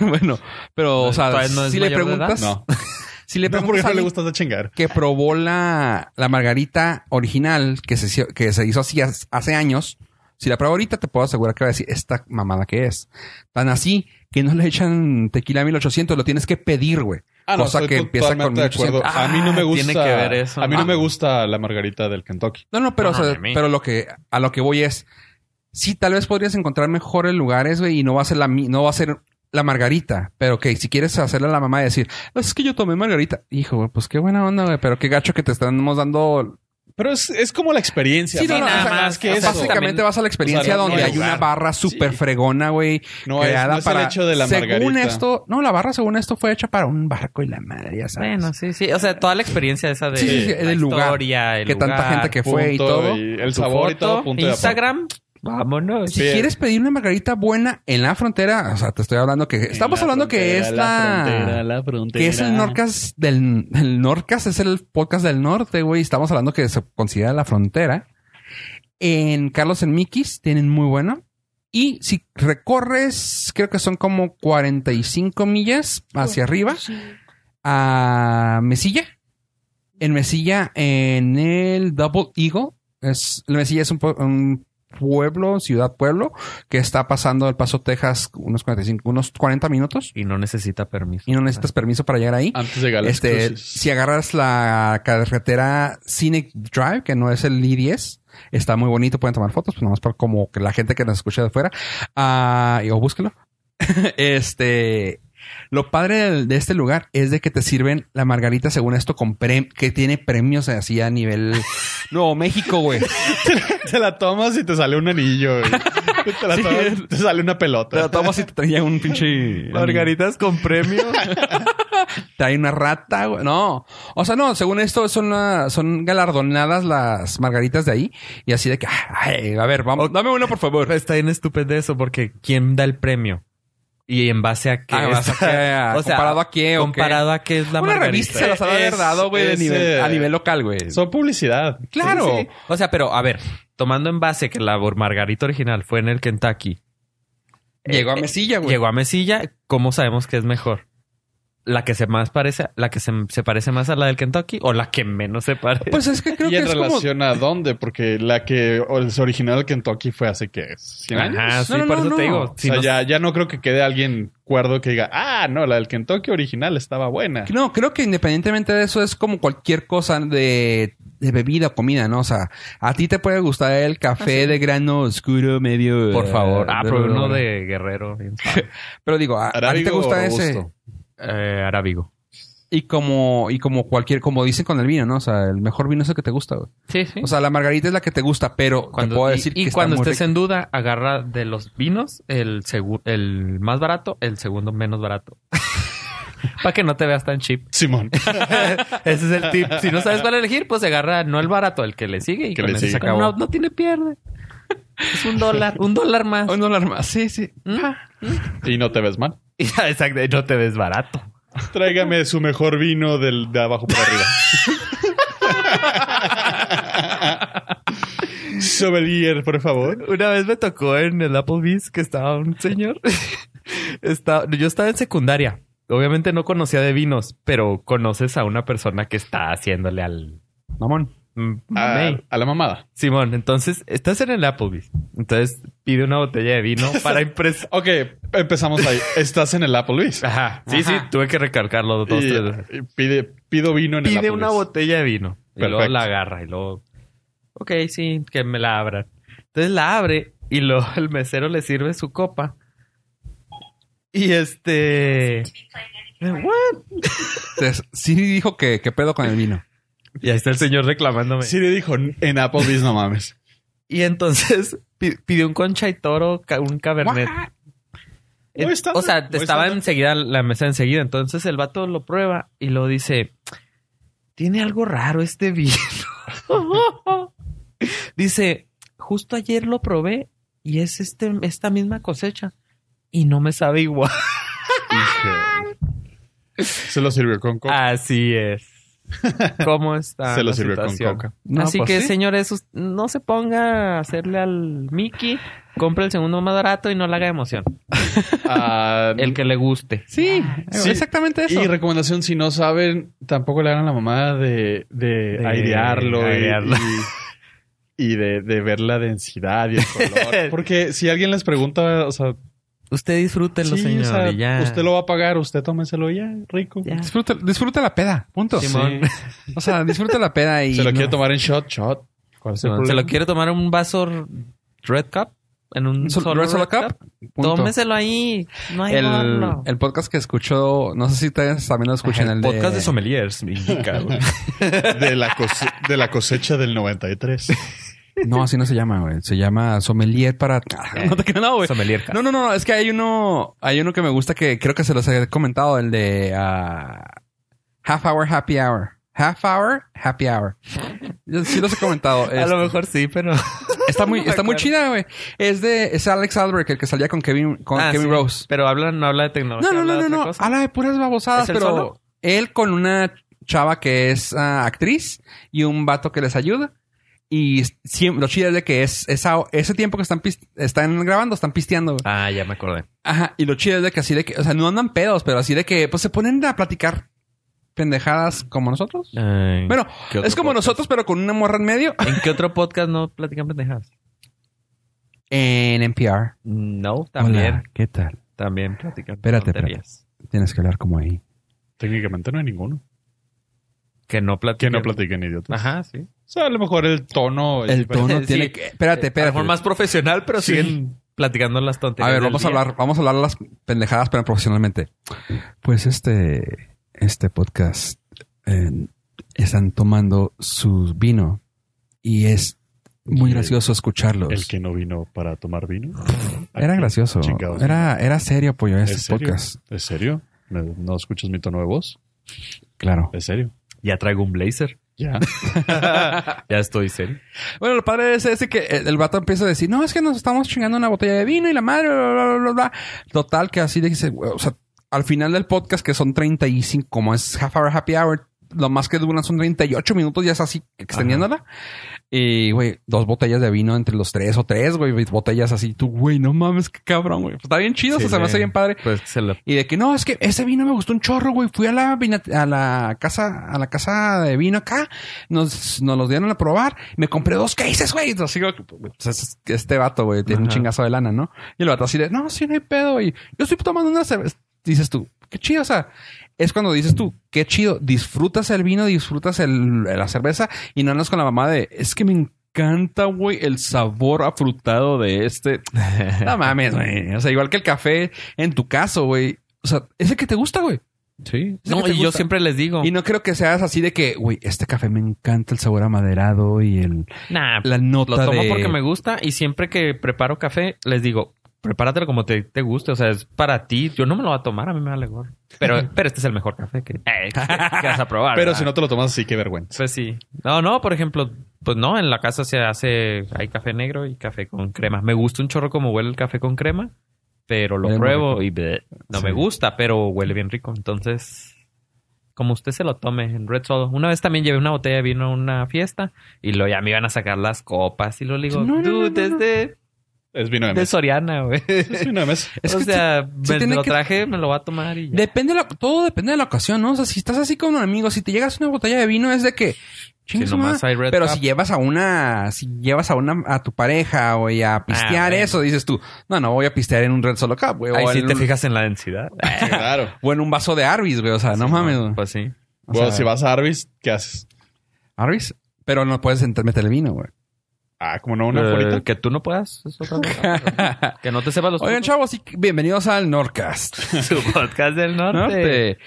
[SPEAKER 2] bueno, pero,
[SPEAKER 3] Pues,
[SPEAKER 2] o sea,
[SPEAKER 4] ¿Todavía no es
[SPEAKER 2] si Pues, le
[SPEAKER 4] mayor de edad?
[SPEAKER 2] preguntas,
[SPEAKER 3] No.
[SPEAKER 2] si le
[SPEAKER 3] No,
[SPEAKER 2] preguntas
[SPEAKER 3] porque
[SPEAKER 2] a
[SPEAKER 3] no le
[SPEAKER 2] alguien
[SPEAKER 3] gusta esa chingar.
[SPEAKER 2] que probó la, la margarita original que se, hizo- que se hizo así hace- hace años, si la prueba ahorita te puedo asegurar que va a decir esta mamada que es. Tan así que no le echan tequila 1800, lo tienes que pedir, güey. cosa
[SPEAKER 3] estoy
[SPEAKER 2] que empieza con
[SPEAKER 3] totalmente de acuerdo.
[SPEAKER 2] 1800.
[SPEAKER 3] a mí no me
[SPEAKER 4] Ah,
[SPEAKER 3] gusta.
[SPEAKER 4] tiene que ver eso,
[SPEAKER 3] A mí
[SPEAKER 4] ¿no?
[SPEAKER 3] no me gusta la margarita del Kentucky.
[SPEAKER 2] No, no, pero,
[SPEAKER 4] No,
[SPEAKER 2] o sea,
[SPEAKER 4] ni a mí.
[SPEAKER 2] pero lo que a lo que voy es sí, tal vez podrías encontrar mejores lugares, güey, y no va a ser la mi- no va a ser la margarita, pero ok, si quieres hacerle a la mamá y decir, es que yo tomé margarita, hijo, güey, pues qué buena onda, güey, pero qué gacho que te estamos dando.
[SPEAKER 3] Pero es, es como la experiencia.
[SPEAKER 2] Sí, no,
[SPEAKER 3] ¿no?
[SPEAKER 2] no,
[SPEAKER 4] nada
[SPEAKER 2] o sea,
[SPEAKER 4] más que
[SPEAKER 2] o sea,
[SPEAKER 4] eso.
[SPEAKER 2] básicamente
[SPEAKER 4] También-
[SPEAKER 2] vas a la experiencia
[SPEAKER 3] o sea, no,
[SPEAKER 2] donde
[SPEAKER 3] no hay
[SPEAKER 2] hay una
[SPEAKER 3] lugar.
[SPEAKER 2] barra súper fregona, güey.
[SPEAKER 3] No es,
[SPEAKER 2] creada
[SPEAKER 3] no es el hecho de la
[SPEAKER 2] según
[SPEAKER 3] margarita.
[SPEAKER 2] esto, no, la barra según esto fue hecha para un barco y la madre, ya sabes.
[SPEAKER 4] Bueno, sí, sí. O sea, toda la experiencia esa de
[SPEAKER 2] Sí, sí, sí,
[SPEAKER 4] la
[SPEAKER 2] del lugar.
[SPEAKER 4] historia, el
[SPEAKER 2] que tanta
[SPEAKER 4] lugar,
[SPEAKER 2] gente que fue y
[SPEAKER 3] Punto
[SPEAKER 2] todo.
[SPEAKER 3] y el
[SPEAKER 4] tu
[SPEAKER 3] sabor y
[SPEAKER 4] foto,
[SPEAKER 3] todo. Punto y aparte.
[SPEAKER 4] Instagram. Vámonos.
[SPEAKER 2] Pues Si
[SPEAKER 3] Sí.
[SPEAKER 2] quieres pedir una margarita buena en la frontera, o sea, te estoy hablando que estamos hablando que es la, que es el Norcas del el Norcas es el podcast del norte, güey, estamos hablando que se considera la frontera. En Carlos en Miquis tienen muy bueno y si recorres, creo que son como 45 millas hacia arriba a Mesilla. En Mesilla, en el Double Eagle, es, la Mesilla es un, pue- un pueblo, ciudad pueblo, que está pasando el Paso Texas unos 45, unos 40 minutos
[SPEAKER 4] Y no necesita permiso.
[SPEAKER 2] y no necesitas permiso para llegar ahí.
[SPEAKER 3] Antes de llegar a las
[SPEAKER 2] Este,
[SPEAKER 3] cruces.
[SPEAKER 2] si agarras la carretera Scenic Drive, que no es el I-10, está muy bonito, pueden tomar fotos, pues nomás para como que la gente que nos escucha de afuera, ah, y- o búsquelo. este, Lo padre del- de este lugar es de que te sirven la margarita, según esto, con pre- que tiene premios así a nivel Nuevo México, güey.
[SPEAKER 3] Te la tomas y te sale un anillo. güey. Te la
[SPEAKER 2] Sí.
[SPEAKER 3] tomas, te sale una pelota.
[SPEAKER 2] Te la tomas y te traía un pinche.
[SPEAKER 4] Margaritas con premio.
[SPEAKER 2] Trae una rata, güey. No. O sea, no, según esto, son, la- son galardonadas las margaritas de ahí. Y así de que, ay, a ver, vamos, dame una, por favor.
[SPEAKER 4] Está bien estúpido eso porque ¿quién da el premio? ¿Y en base a qué?
[SPEAKER 2] Ah, ¿vas a qué?
[SPEAKER 4] O sea,
[SPEAKER 2] ¿comparado a qué? o qué?
[SPEAKER 4] comparado a qué es la
[SPEAKER 2] Una
[SPEAKER 4] margarita.
[SPEAKER 2] revista se las ha de haber
[SPEAKER 3] Es-
[SPEAKER 2] dado, güey, de
[SPEAKER 3] es,
[SPEAKER 2] nivel-
[SPEAKER 3] eh,
[SPEAKER 2] a nivel local, güey.
[SPEAKER 3] Son publicidad.
[SPEAKER 2] Claro.
[SPEAKER 3] Sí, sí.
[SPEAKER 4] O sea, pero a ver, tomando en base que la margarita original fue en el Kentucky,
[SPEAKER 2] Llegó a
[SPEAKER 4] eh,
[SPEAKER 2] Mesilla, güey.
[SPEAKER 4] llegó a Mesilla, ¿cómo sabemos que es mejor? ¿La que se más parece, la que se, se parece más a la del Kentucky o la que menos se parece?
[SPEAKER 2] Pues es que creo
[SPEAKER 3] y
[SPEAKER 2] que
[SPEAKER 3] en
[SPEAKER 2] es como...
[SPEAKER 3] relación a dónde, porque la que o- es original de Kentucky fue hace que 100 años.
[SPEAKER 4] Ajá, sí,
[SPEAKER 2] No, no,
[SPEAKER 4] por
[SPEAKER 2] no,
[SPEAKER 4] eso te
[SPEAKER 2] Ah, no.
[SPEAKER 4] digo.
[SPEAKER 3] O
[SPEAKER 4] si
[SPEAKER 3] sea,
[SPEAKER 4] no-
[SPEAKER 3] ya, ya no creo que quede alguien cuerdo que diga, ah, no, la del Kentucky original estaba buena.
[SPEAKER 2] No, creo que independientemente de eso es como cualquier cosa de, de bebida o comida, ¿no? O sea, a ti te puede gustar el café de grano oscuro medio...
[SPEAKER 4] Ah, Por favor.
[SPEAKER 2] eh,
[SPEAKER 4] Ah, pero uno de Guerrero. bien suave.
[SPEAKER 2] Pero digo, a, a ti te
[SPEAKER 3] Arábigo
[SPEAKER 2] gusta
[SPEAKER 3] robusto.
[SPEAKER 2] ese...
[SPEAKER 4] Eh, arábigo.
[SPEAKER 2] Y como, y como cualquier, como dicen con el vino, ¿no? O sea, el mejor vino es el que te gusta, güey.
[SPEAKER 4] Sí, sí.
[SPEAKER 2] O sea, la margarita es la que te gusta, pero
[SPEAKER 4] Cuando,
[SPEAKER 2] te puedo
[SPEAKER 4] y-
[SPEAKER 2] decir
[SPEAKER 4] y
[SPEAKER 2] que
[SPEAKER 4] cuando
[SPEAKER 2] está muy
[SPEAKER 4] estés
[SPEAKER 2] rica.
[SPEAKER 4] en duda, agarra de los vinos el, segu- el más barato, el segundo menos barato. Para que no te veas tan cheap.
[SPEAKER 3] Simón.
[SPEAKER 4] Ese es el tip. Si no sabes cuál elegir, pues agarra no el barato, el que le sigue y
[SPEAKER 3] Que
[SPEAKER 4] con
[SPEAKER 3] le
[SPEAKER 4] ese
[SPEAKER 3] sigue.
[SPEAKER 4] se acabó. No, no tiene pierde. Es un dólar, un dólar más.
[SPEAKER 2] Un dólar más. Sí, sí.
[SPEAKER 4] Mm.
[SPEAKER 3] y no te ves mal.
[SPEAKER 4] Y ya, Exacto, y no te ves barato.
[SPEAKER 3] Tráigame su mejor vino del, de abajo para arriba. Sommelier, por favor.
[SPEAKER 4] Una vez me tocó en el Applebee's que estaba un señor. Está- yo estaba en secundaria. Obviamente no conocía de vinos, pero conoces a una persona que está haciéndole al...
[SPEAKER 2] Mamón.
[SPEAKER 4] mm,
[SPEAKER 3] A,
[SPEAKER 4] mamey.
[SPEAKER 3] a la mamada.
[SPEAKER 4] Simón, entonces estás en el Applebee's. Entonces pide una botella de vino para impresionar.
[SPEAKER 3] Ok, empezamos ahí. Estás en el Applebee's.
[SPEAKER 4] Ajá. Sí, sí, tuve que recalcarlo Ah, dos,
[SPEAKER 3] Y,
[SPEAKER 4] tres veces.
[SPEAKER 3] y pide, pido vino en el
[SPEAKER 4] pide
[SPEAKER 3] Applebee's.
[SPEAKER 4] una botella de vino. Y luego
[SPEAKER 3] Perfecto.
[SPEAKER 4] la agarra y luego... Ok, sí, que me la abran. Entonces la abre y luego el mesero le sirve su copa. Y este... ¿What?
[SPEAKER 2] Entonces, sí dijo que, que pedo con el vino.
[SPEAKER 4] Y ahí está el señor reclamándome.
[SPEAKER 3] Siri dijo, en Applebee's no mames.
[SPEAKER 4] Y entonces pi- pidió un concha y toro, ca- un cabernet. Eh,
[SPEAKER 3] Muy estándar,
[SPEAKER 4] o sea,
[SPEAKER 3] muy
[SPEAKER 4] estaba
[SPEAKER 3] estándar.
[SPEAKER 4] enseguida la mesa enseguida. Entonces el vato lo prueba y lo dice: Tiene algo raro este vino. dice: Justo ayer lo probé y es este, esta misma cosecha. Y no me sabe igual.
[SPEAKER 3] Se lo sirvió con
[SPEAKER 4] Ah,
[SPEAKER 3] coca.
[SPEAKER 4] Así es. ¿Cómo está?
[SPEAKER 3] Se lo
[SPEAKER 4] la
[SPEAKER 3] sirvió con
[SPEAKER 4] situación?
[SPEAKER 3] coca.
[SPEAKER 2] No,
[SPEAKER 4] Así
[SPEAKER 2] pues
[SPEAKER 4] que,
[SPEAKER 2] sí.
[SPEAKER 4] señores, us- no se ponga a hacerle al Mickey. Compre el segundo más barato y no le haga emoción.
[SPEAKER 3] Ah,
[SPEAKER 4] El que le guste.
[SPEAKER 2] Sí,
[SPEAKER 3] Sí.
[SPEAKER 2] exactamente eso.
[SPEAKER 3] Y recomendación, si no saben, tampoco le hagan la mamada de, de
[SPEAKER 4] De
[SPEAKER 3] airearlo, y-
[SPEAKER 4] airearlo.
[SPEAKER 3] y, y de, de ver la densidad y el color. Porque si alguien les pregunta, o sea,
[SPEAKER 4] Usted disfrútelo,
[SPEAKER 3] sí,
[SPEAKER 4] señor.
[SPEAKER 3] o sea,
[SPEAKER 4] y ya.
[SPEAKER 3] usted lo va a pagar, usted tómeselo ya, rico.
[SPEAKER 4] Ya.
[SPEAKER 2] Disfruta, disfruta la peda, punto.
[SPEAKER 4] Simón.
[SPEAKER 2] O sea, disfruta la peda y...
[SPEAKER 3] Se lo
[SPEAKER 2] no-
[SPEAKER 3] quiere tomar en shot, shot. ¿Cuál es el
[SPEAKER 4] ¿Se
[SPEAKER 3] problema?
[SPEAKER 4] lo quiere tomar un vaso r- Red Cup? ¿En un
[SPEAKER 2] Sol-
[SPEAKER 4] solo
[SPEAKER 2] Red Solo
[SPEAKER 4] Red
[SPEAKER 2] Cup?
[SPEAKER 4] Cup?
[SPEAKER 2] Punto.
[SPEAKER 4] Tómeselo ahí. No hay
[SPEAKER 2] El,
[SPEAKER 4] gorro.
[SPEAKER 2] el podcast que escuchó, no sé si ustedes también lo escuchan, el, de...
[SPEAKER 4] sommeliers me indica. güey.
[SPEAKER 3] De la, cose- de la cosecha del 93.
[SPEAKER 2] No, así no se llama, güey. Se llama sommelier para... No te creas, no, güey.
[SPEAKER 4] sommelier Cup.
[SPEAKER 2] No, no, no, es que hay uno, hay uno que me gusta que creo que se los he comentado, el de ah, Half Hour Happy Hour. Half Hour Happy Hour. Yo sí los he comentado.
[SPEAKER 4] A
[SPEAKER 2] Es-
[SPEAKER 4] lo mejor sí, pero...
[SPEAKER 2] está muy,
[SPEAKER 4] no me
[SPEAKER 2] está muy
[SPEAKER 4] acuerdo.
[SPEAKER 2] chida, güey. Es de, es Alex Albert, el que salía con Kevin, con
[SPEAKER 4] Ah,
[SPEAKER 2] Kevin
[SPEAKER 4] sí.
[SPEAKER 2] Rose.
[SPEAKER 4] Pero habla, no habla de tecnología.
[SPEAKER 2] No, no,
[SPEAKER 4] habla
[SPEAKER 2] no, no,
[SPEAKER 4] de otra
[SPEAKER 2] no.
[SPEAKER 4] cosa.
[SPEAKER 2] Habla de puras babosadas,
[SPEAKER 4] ¿Es él
[SPEAKER 2] pero
[SPEAKER 4] solo?
[SPEAKER 2] él con una chava que es ah, actriz y un vato que les ayuda. Y siem- lo chido es de que es, esa- ese tiempo que están, pis- están grabando, están pisteando. güey.
[SPEAKER 4] Ah, ya me acordé.
[SPEAKER 2] Ajá, y lo chido es de que así de que, o sea, no andan pedos, pero así de que, pues se ponen a platicar pendejadas como nosotros.
[SPEAKER 4] Ay,
[SPEAKER 2] Bueno,
[SPEAKER 4] ¿qué otro
[SPEAKER 2] es como
[SPEAKER 4] podcast?
[SPEAKER 2] nosotros, pero con una morra en medio.
[SPEAKER 4] ¿En qué otro podcast no platican pendejadas?
[SPEAKER 2] En NPR.
[SPEAKER 4] No, también.
[SPEAKER 2] Hola, ¿qué tal?
[SPEAKER 4] También platican
[SPEAKER 2] Espérate,
[SPEAKER 4] tonterías.
[SPEAKER 2] Tienes que hablar como ahí.
[SPEAKER 3] Técnicamente no hay ninguno.
[SPEAKER 4] Que no
[SPEAKER 3] Que
[SPEAKER 4] platican.
[SPEAKER 3] no platiquen idiotas.
[SPEAKER 4] Ajá, sí.
[SPEAKER 3] O sea, a lo mejor el tono. es
[SPEAKER 2] El
[SPEAKER 3] diferente.
[SPEAKER 2] tono
[SPEAKER 4] Pues Sí.
[SPEAKER 2] tiene que... Espérate,
[SPEAKER 4] A lo mejor
[SPEAKER 2] espérate.
[SPEAKER 4] más profesional, pero
[SPEAKER 3] Sí.
[SPEAKER 4] siguen platicando las
[SPEAKER 2] A
[SPEAKER 4] tonterías.
[SPEAKER 2] ver,
[SPEAKER 4] del
[SPEAKER 2] vamos a
[SPEAKER 4] día.
[SPEAKER 2] hablar, vamos a hablar las pendejadas, pero profesionalmente. Pues este, este podcast eh, están tomando su vino y es muy
[SPEAKER 3] Sí.
[SPEAKER 2] gracioso escucharlos.
[SPEAKER 3] El que no vino para tomar vino.
[SPEAKER 2] Era gracioso.
[SPEAKER 3] Chingados.
[SPEAKER 2] Era, era serio, pollo, ese
[SPEAKER 3] ¿Es serio?
[SPEAKER 2] podcast.
[SPEAKER 3] ¿Es serio? ¿No, no escuchas mi tono de voz?
[SPEAKER 2] Claro.
[SPEAKER 3] ¿Es serio?
[SPEAKER 4] Ya traigo un blazer.
[SPEAKER 3] Ya.
[SPEAKER 4] Ya estoy serio.
[SPEAKER 2] Bueno, lo padre es ese que eh, el el vato empieza a decir, no, es que nos estamos chingando una botella de vino y la madre, bla, bla, bla, bla, bla". Total, que así dice, güey, o sea, al final del podcast, que son 35, como es half hour, happy hour, lo más que duran son 38 minutos, ya es así, extendiéndola. Y, güey, dos botellas de vino entre los tres o tres, güey, botellas así, tú, güey, no mames, qué cabrón, güey. Pues está bien chido, o sea,
[SPEAKER 4] Sí,
[SPEAKER 2] se me
[SPEAKER 4] le-
[SPEAKER 2] hace bien padre.
[SPEAKER 4] Pues se la-
[SPEAKER 2] Y de que no, es que ese vino me gustó un chorro, güey. Fui a la, vina- a la casa, a la casa de vino acá. Nos, nos los dieron a probar. Me compré dos cases, güey. Así que, pues, es- este vato, güey, tiene un
[SPEAKER 4] Ajá.
[SPEAKER 2] chingazo de lana, ¿no? Y el vato así de, no, sí, no hay pedo, güey. Yo estoy tomando una cerveza. Dices tú, qué chido, o sea, es cuando dices tú, qué chido, disfrutas el vino, disfrutas el- la cerveza y no andas con la mamá de, es que me encanta, güey, el sabor afrutado de este. No mames, güey. O sea, igual que el café en tu caso, güey. O sea, es el que te gusta, güey.
[SPEAKER 3] sí.
[SPEAKER 2] Es el que
[SPEAKER 4] No,
[SPEAKER 2] te
[SPEAKER 4] y yo
[SPEAKER 2] gusta.
[SPEAKER 4] siempre les digo.
[SPEAKER 2] Y no creo que seas así de que, güey, este café me encanta el sabor amaderado y el
[SPEAKER 4] Nah,
[SPEAKER 2] la nota
[SPEAKER 4] lo tomo
[SPEAKER 2] de-
[SPEAKER 4] porque me gusta y siempre que preparo café les digo, prepáratelo como te, te guste. O sea, es para ti. Yo no me lo voy a tomar, a mí me vale gorro. Pero, pero este es el mejor café que, eh, que- que vas a probar.
[SPEAKER 3] Pero
[SPEAKER 4] ¿verdad?
[SPEAKER 3] si no te lo tomas así, qué vergüenza.
[SPEAKER 4] Pues sí. No, no, por ejemplo, pues no, en la casa se hace, hay café negro y café con crema. Me gusta un chorro como huele el café con crema, pero lo
[SPEAKER 2] Huele muy
[SPEAKER 4] pruebo
[SPEAKER 2] rico.
[SPEAKER 4] y bleh, no
[SPEAKER 2] Sí.
[SPEAKER 4] me gusta, pero huele bien rico. Entonces, como usted se lo tome en Red Solo. Una vez también llevé una botella de vino a una fiesta y lo ya me iban a sacar las copas y lo digo,
[SPEAKER 2] No, no, no,
[SPEAKER 4] dude,
[SPEAKER 2] no,
[SPEAKER 4] es
[SPEAKER 2] no.
[SPEAKER 4] de,
[SPEAKER 3] Es vino de
[SPEAKER 4] de
[SPEAKER 3] mesa.
[SPEAKER 4] Soriana, güey.
[SPEAKER 3] Es vino de mesa.
[SPEAKER 2] Es
[SPEAKER 4] o
[SPEAKER 2] que
[SPEAKER 4] sea,
[SPEAKER 2] sí
[SPEAKER 4] me
[SPEAKER 2] tiene
[SPEAKER 4] lo
[SPEAKER 2] que-
[SPEAKER 4] traje, me lo va a tomar y ya.
[SPEAKER 2] Depende la- todo depende de la ocasión, ¿no? O sea, si estás así con un amigo, si te llegas a una botella de vino es de que
[SPEAKER 4] Si
[SPEAKER 2] chinga su
[SPEAKER 4] nomás
[SPEAKER 2] madre.
[SPEAKER 4] hay Red
[SPEAKER 2] pero
[SPEAKER 4] Cup,
[SPEAKER 2] si llevas a una, si llevas a una a tu pareja o a pistear
[SPEAKER 4] bueno.
[SPEAKER 2] eso, dices tú, no, no voy a pistear en un Red Solo Cup, güey.
[SPEAKER 4] Ah, ahí
[SPEAKER 2] o,
[SPEAKER 4] sí
[SPEAKER 2] en
[SPEAKER 4] te
[SPEAKER 2] un-
[SPEAKER 4] fijas en la densidad.
[SPEAKER 3] Sí, Claro.
[SPEAKER 2] o en un vaso de Arby's, güey. O sea, no mames. güey.
[SPEAKER 4] Pues sí.
[SPEAKER 2] O
[SPEAKER 3] Bueno,
[SPEAKER 2] sea,
[SPEAKER 3] si vas a Arby's, ¿qué haces?
[SPEAKER 2] Arby's, pero no puedes ent- meterle vino, güey.
[SPEAKER 3] Ah, como no, una
[SPEAKER 4] Eh,
[SPEAKER 3] forita.
[SPEAKER 4] que tú no puedas. es otra cosa. que no te sepas los
[SPEAKER 2] Oigan,
[SPEAKER 4] trucos.
[SPEAKER 2] chavos, y bienvenidos al Norcast.
[SPEAKER 4] Su podcast del norte.
[SPEAKER 3] este,
[SPEAKER 2] Norte.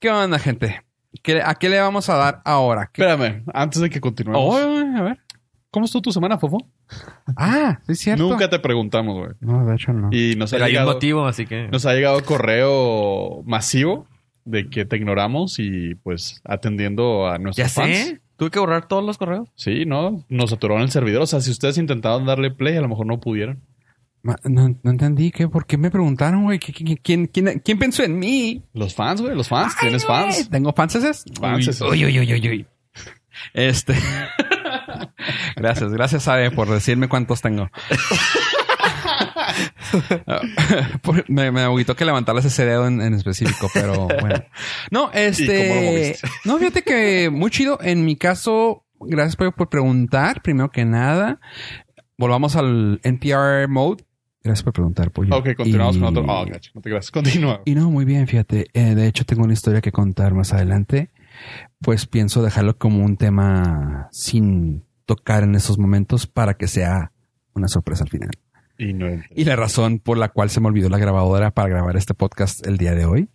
[SPEAKER 2] ¿Qué onda, gente? ¿Qué- ¿A qué le vamos a dar ahora? ¿Qué-
[SPEAKER 3] Espérame, antes de que continuemos.
[SPEAKER 2] Oh, a ver.
[SPEAKER 3] ¿Cómo estuvo tu semana, Fofo?
[SPEAKER 2] Ah, sí es cierto.
[SPEAKER 3] Nunca te preguntamos, güey.
[SPEAKER 2] No, de hecho no.
[SPEAKER 3] Y nos ha,
[SPEAKER 4] Pero hay un
[SPEAKER 3] llegado,
[SPEAKER 4] motivo, así que.
[SPEAKER 3] nos ha llegado correo masivo de que te ignoramos y pues atendiendo a nuestros
[SPEAKER 4] ya
[SPEAKER 3] fans.
[SPEAKER 4] sé. Tuve que borrar todos los correos.
[SPEAKER 3] Sí, no, nos saturaron el servidor. O sea, si ustedes intentaban darle play, a lo mejor no pudieron.
[SPEAKER 2] Ma- No, no entendí. ¿qué? ¿Por qué me preguntaron, güey? ¿Qué- qué- qué- quién, quién- quién pensó en mí?
[SPEAKER 3] Los fans, güey, los fans, tienes
[SPEAKER 2] Eh,
[SPEAKER 3] fans.
[SPEAKER 2] ¿Tengo fans esas?
[SPEAKER 3] Fans esas.
[SPEAKER 2] uy, uy, uy, uy, uy. Este. gracias, gracias, Abe, por decirme cuántos tengo. Por- me, me agüitó que levantaras ese dedo en, en específico, pero bueno. No,
[SPEAKER 3] ¿Y cómo lo
[SPEAKER 2] este.
[SPEAKER 3] moviste?
[SPEAKER 2] No, fíjate que muy chido. En mi caso, gracias por, por preguntar, primero que nada. Volvamos al NPR mode. Gracias por preguntar, pollo.
[SPEAKER 3] Ok, continuamos
[SPEAKER 2] Y-
[SPEAKER 3] con otro. Oh, gacho, no te gracias. Continúa.
[SPEAKER 2] y no, muy bien, fíjate. Eh, de hecho, tengo una historia que contar más adelante. Pues pienso dejarlo como un tema sin tocar en esos momentos para que sea una sorpresa al final.
[SPEAKER 3] Y no entré.
[SPEAKER 2] Y la razón por la cual se me olvidó la grabadora para grabar este podcast el día de hoy,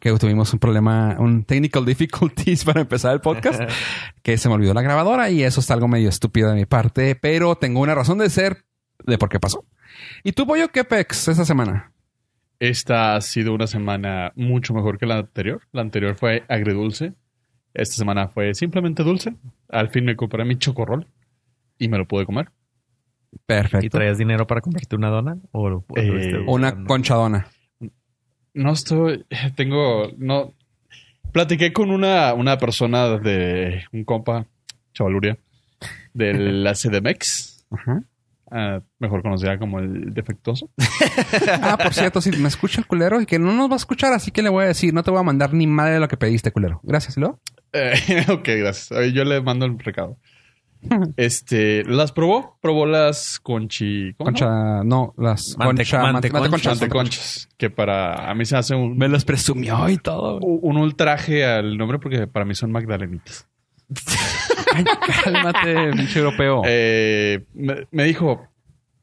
[SPEAKER 2] que tuvimos un problema, un technical difficulties para empezar el podcast, que se me olvidó la grabadora y eso es algo medio estúpido de mi parte, pero tengo una razón de ser de por qué pasó. ¿Y tú, Pollo, qué pex esta semana?
[SPEAKER 3] Esta ha sido una semana mucho mejor que la anterior. La anterior fue agridulce. Esta semana fue simplemente dulce. Al fin me compré mi chocorrol y me lo pude comer.
[SPEAKER 2] Perfecto.
[SPEAKER 4] ¿Y traías dinero para comprarte una dona? ¿O lo- o lo
[SPEAKER 3] Eh,
[SPEAKER 4] estás
[SPEAKER 2] Una
[SPEAKER 4] buscando?
[SPEAKER 2] conchadona.
[SPEAKER 3] No estoy. Tengo. No. Platiqué con una, una persona de un compa, Chavaluria, de la CDMX,
[SPEAKER 2] Ajá.
[SPEAKER 3] ah, mejor conocida como el defectuoso.
[SPEAKER 2] Ah, por cierto, si me escucha el culero y que no nos va a escuchar, así que le voy a decir, no te voy a mandar ni madre de lo que pediste, culero. Gracias, ¿lo?
[SPEAKER 3] Eh, ok, gracias. Ay, Yo le mando el recado. Este, las probó, probó las conchi. ¿cómo se llama?
[SPEAKER 2] Concha, no, las
[SPEAKER 4] Mante-
[SPEAKER 2] concha, mante-
[SPEAKER 4] manteconchas.
[SPEAKER 2] manteconchas.
[SPEAKER 3] Manteconchas, Que para a mí se hace un,
[SPEAKER 2] Me las presumió y todo.
[SPEAKER 3] un ultraje al nombre porque para mí son magdalenitas.
[SPEAKER 4] Oh.
[SPEAKER 2] Ay, cálmate, pinche europeo.
[SPEAKER 3] Eh, me, me Eh, dijo,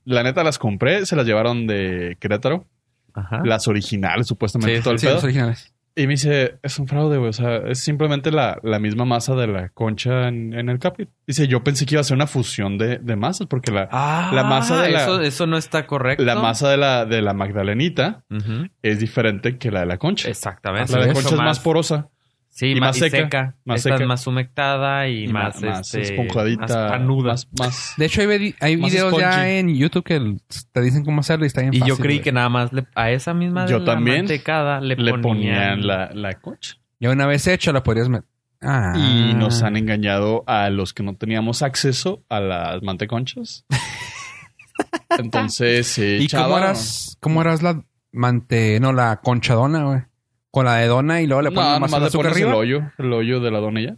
[SPEAKER 3] la neta las compré, se las llevaron de Querétaro,
[SPEAKER 4] Ajá.
[SPEAKER 3] las originales, supuestamente
[SPEAKER 4] Ah. Sí,
[SPEAKER 3] todo el
[SPEAKER 2] Sí,
[SPEAKER 3] pedo.
[SPEAKER 2] los originales.
[SPEAKER 3] Y me dice, es un fraude, güey. O sea, es simplemente la, la misma masa de la concha en, en el Capri. Dice, yo pensé que iba a ser una fusión de, de masas, porque la,
[SPEAKER 4] Ah,
[SPEAKER 3] la masa de la-
[SPEAKER 4] Eso, eso no está correcto.
[SPEAKER 3] la masa de la, de la Magdalenita
[SPEAKER 4] Ujú.
[SPEAKER 3] es diferente que la de la concha.
[SPEAKER 4] Exactamente.
[SPEAKER 3] la de la
[SPEAKER 2] es.
[SPEAKER 3] concha
[SPEAKER 4] Mucho
[SPEAKER 3] es más porosa.
[SPEAKER 4] Sí,
[SPEAKER 3] y
[SPEAKER 4] más,
[SPEAKER 3] más
[SPEAKER 4] y
[SPEAKER 3] seca,
[SPEAKER 4] seca.
[SPEAKER 3] más
[SPEAKER 4] Esta es
[SPEAKER 3] seca.
[SPEAKER 4] más humectada y,
[SPEAKER 3] Y
[SPEAKER 4] más,
[SPEAKER 3] ma- más
[SPEAKER 4] este,
[SPEAKER 3] esponjadita.
[SPEAKER 4] Más panuda.
[SPEAKER 3] Más, más-
[SPEAKER 2] De hecho, hay, vedi- hay
[SPEAKER 3] Más
[SPEAKER 2] videos ya
[SPEAKER 3] spongy.
[SPEAKER 2] en YouTube que l- te dicen cómo hacerlo y está bien
[SPEAKER 4] Y yo
[SPEAKER 2] fácil,
[SPEAKER 4] creí
[SPEAKER 2] güey.
[SPEAKER 4] que nada más le- a esa misma de
[SPEAKER 3] Yo
[SPEAKER 4] la
[SPEAKER 3] también
[SPEAKER 4] mantecada le,
[SPEAKER 3] le ponían
[SPEAKER 4] ponían
[SPEAKER 3] la, la concha.
[SPEAKER 2] Ya una vez hecho la podrías meter. Ah.
[SPEAKER 3] Y nos han engañado a los que no teníamos acceso a las manteconchas. Entonces, eh,
[SPEAKER 2] ¿Y cómo
[SPEAKER 3] chava,
[SPEAKER 2] harás, cómo harás la mante... No, la conchadona, güey? Con la de dona y luego le
[SPEAKER 3] no,
[SPEAKER 2] pones más
[SPEAKER 3] nomás le
[SPEAKER 2] azúcar
[SPEAKER 3] pones el
[SPEAKER 2] arriba.
[SPEAKER 3] hoyo, el hoyo de la dona y ya.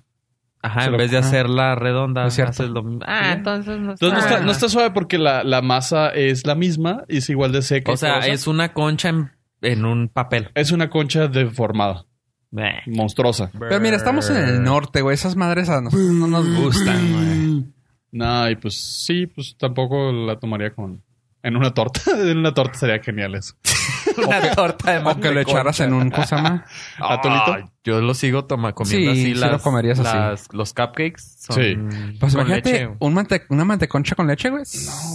[SPEAKER 4] Ajá,
[SPEAKER 3] Se
[SPEAKER 4] en
[SPEAKER 3] lo-
[SPEAKER 4] vez de
[SPEAKER 2] Ajá.
[SPEAKER 4] hacerla redonda,
[SPEAKER 2] No es cierto.
[SPEAKER 4] haces lo mismo. Ah,
[SPEAKER 3] Sí.
[SPEAKER 4] entonces no está.
[SPEAKER 3] Entonces no, está,
[SPEAKER 4] Ah.
[SPEAKER 3] no está suave porque la, la masa es la misma, es igual de
[SPEAKER 2] Ah.
[SPEAKER 3] seca. y
[SPEAKER 4] O sea,
[SPEAKER 3] porosa.
[SPEAKER 4] es una concha en, en un papel.
[SPEAKER 3] es una concha deformada,
[SPEAKER 4] Bleh.
[SPEAKER 3] monstruosa.
[SPEAKER 2] Pero mira, estamos en el norte, güey. Esas madres a nosotros no nos
[SPEAKER 4] Mm.
[SPEAKER 2] gustan, güey.
[SPEAKER 3] No, y pues sí, pues tampoco la tomaría con... En una torta, en una torta sería genial eso.
[SPEAKER 4] una torta de
[SPEAKER 2] O que lo
[SPEAKER 4] manteconcha.
[SPEAKER 2] echaras en un... ¿Cómo se llama?
[SPEAKER 3] Atolito.
[SPEAKER 4] Ah, yo lo sigo toma, comiendo
[SPEAKER 2] Sí, sí
[SPEAKER 4] así. las,
[SPEAKER 2] lo comerías así.
[SPEAKER 4] las- los cupcakes son
[SPEAKER 3] Sí.
[SPEAKER 2] Pues
[SPEAKER 4] con
[SPEAKER 2] imagínate
[SPEAKER 4] leche.
[SPEAKER 2] un mante- una manteconcha con leche, güey.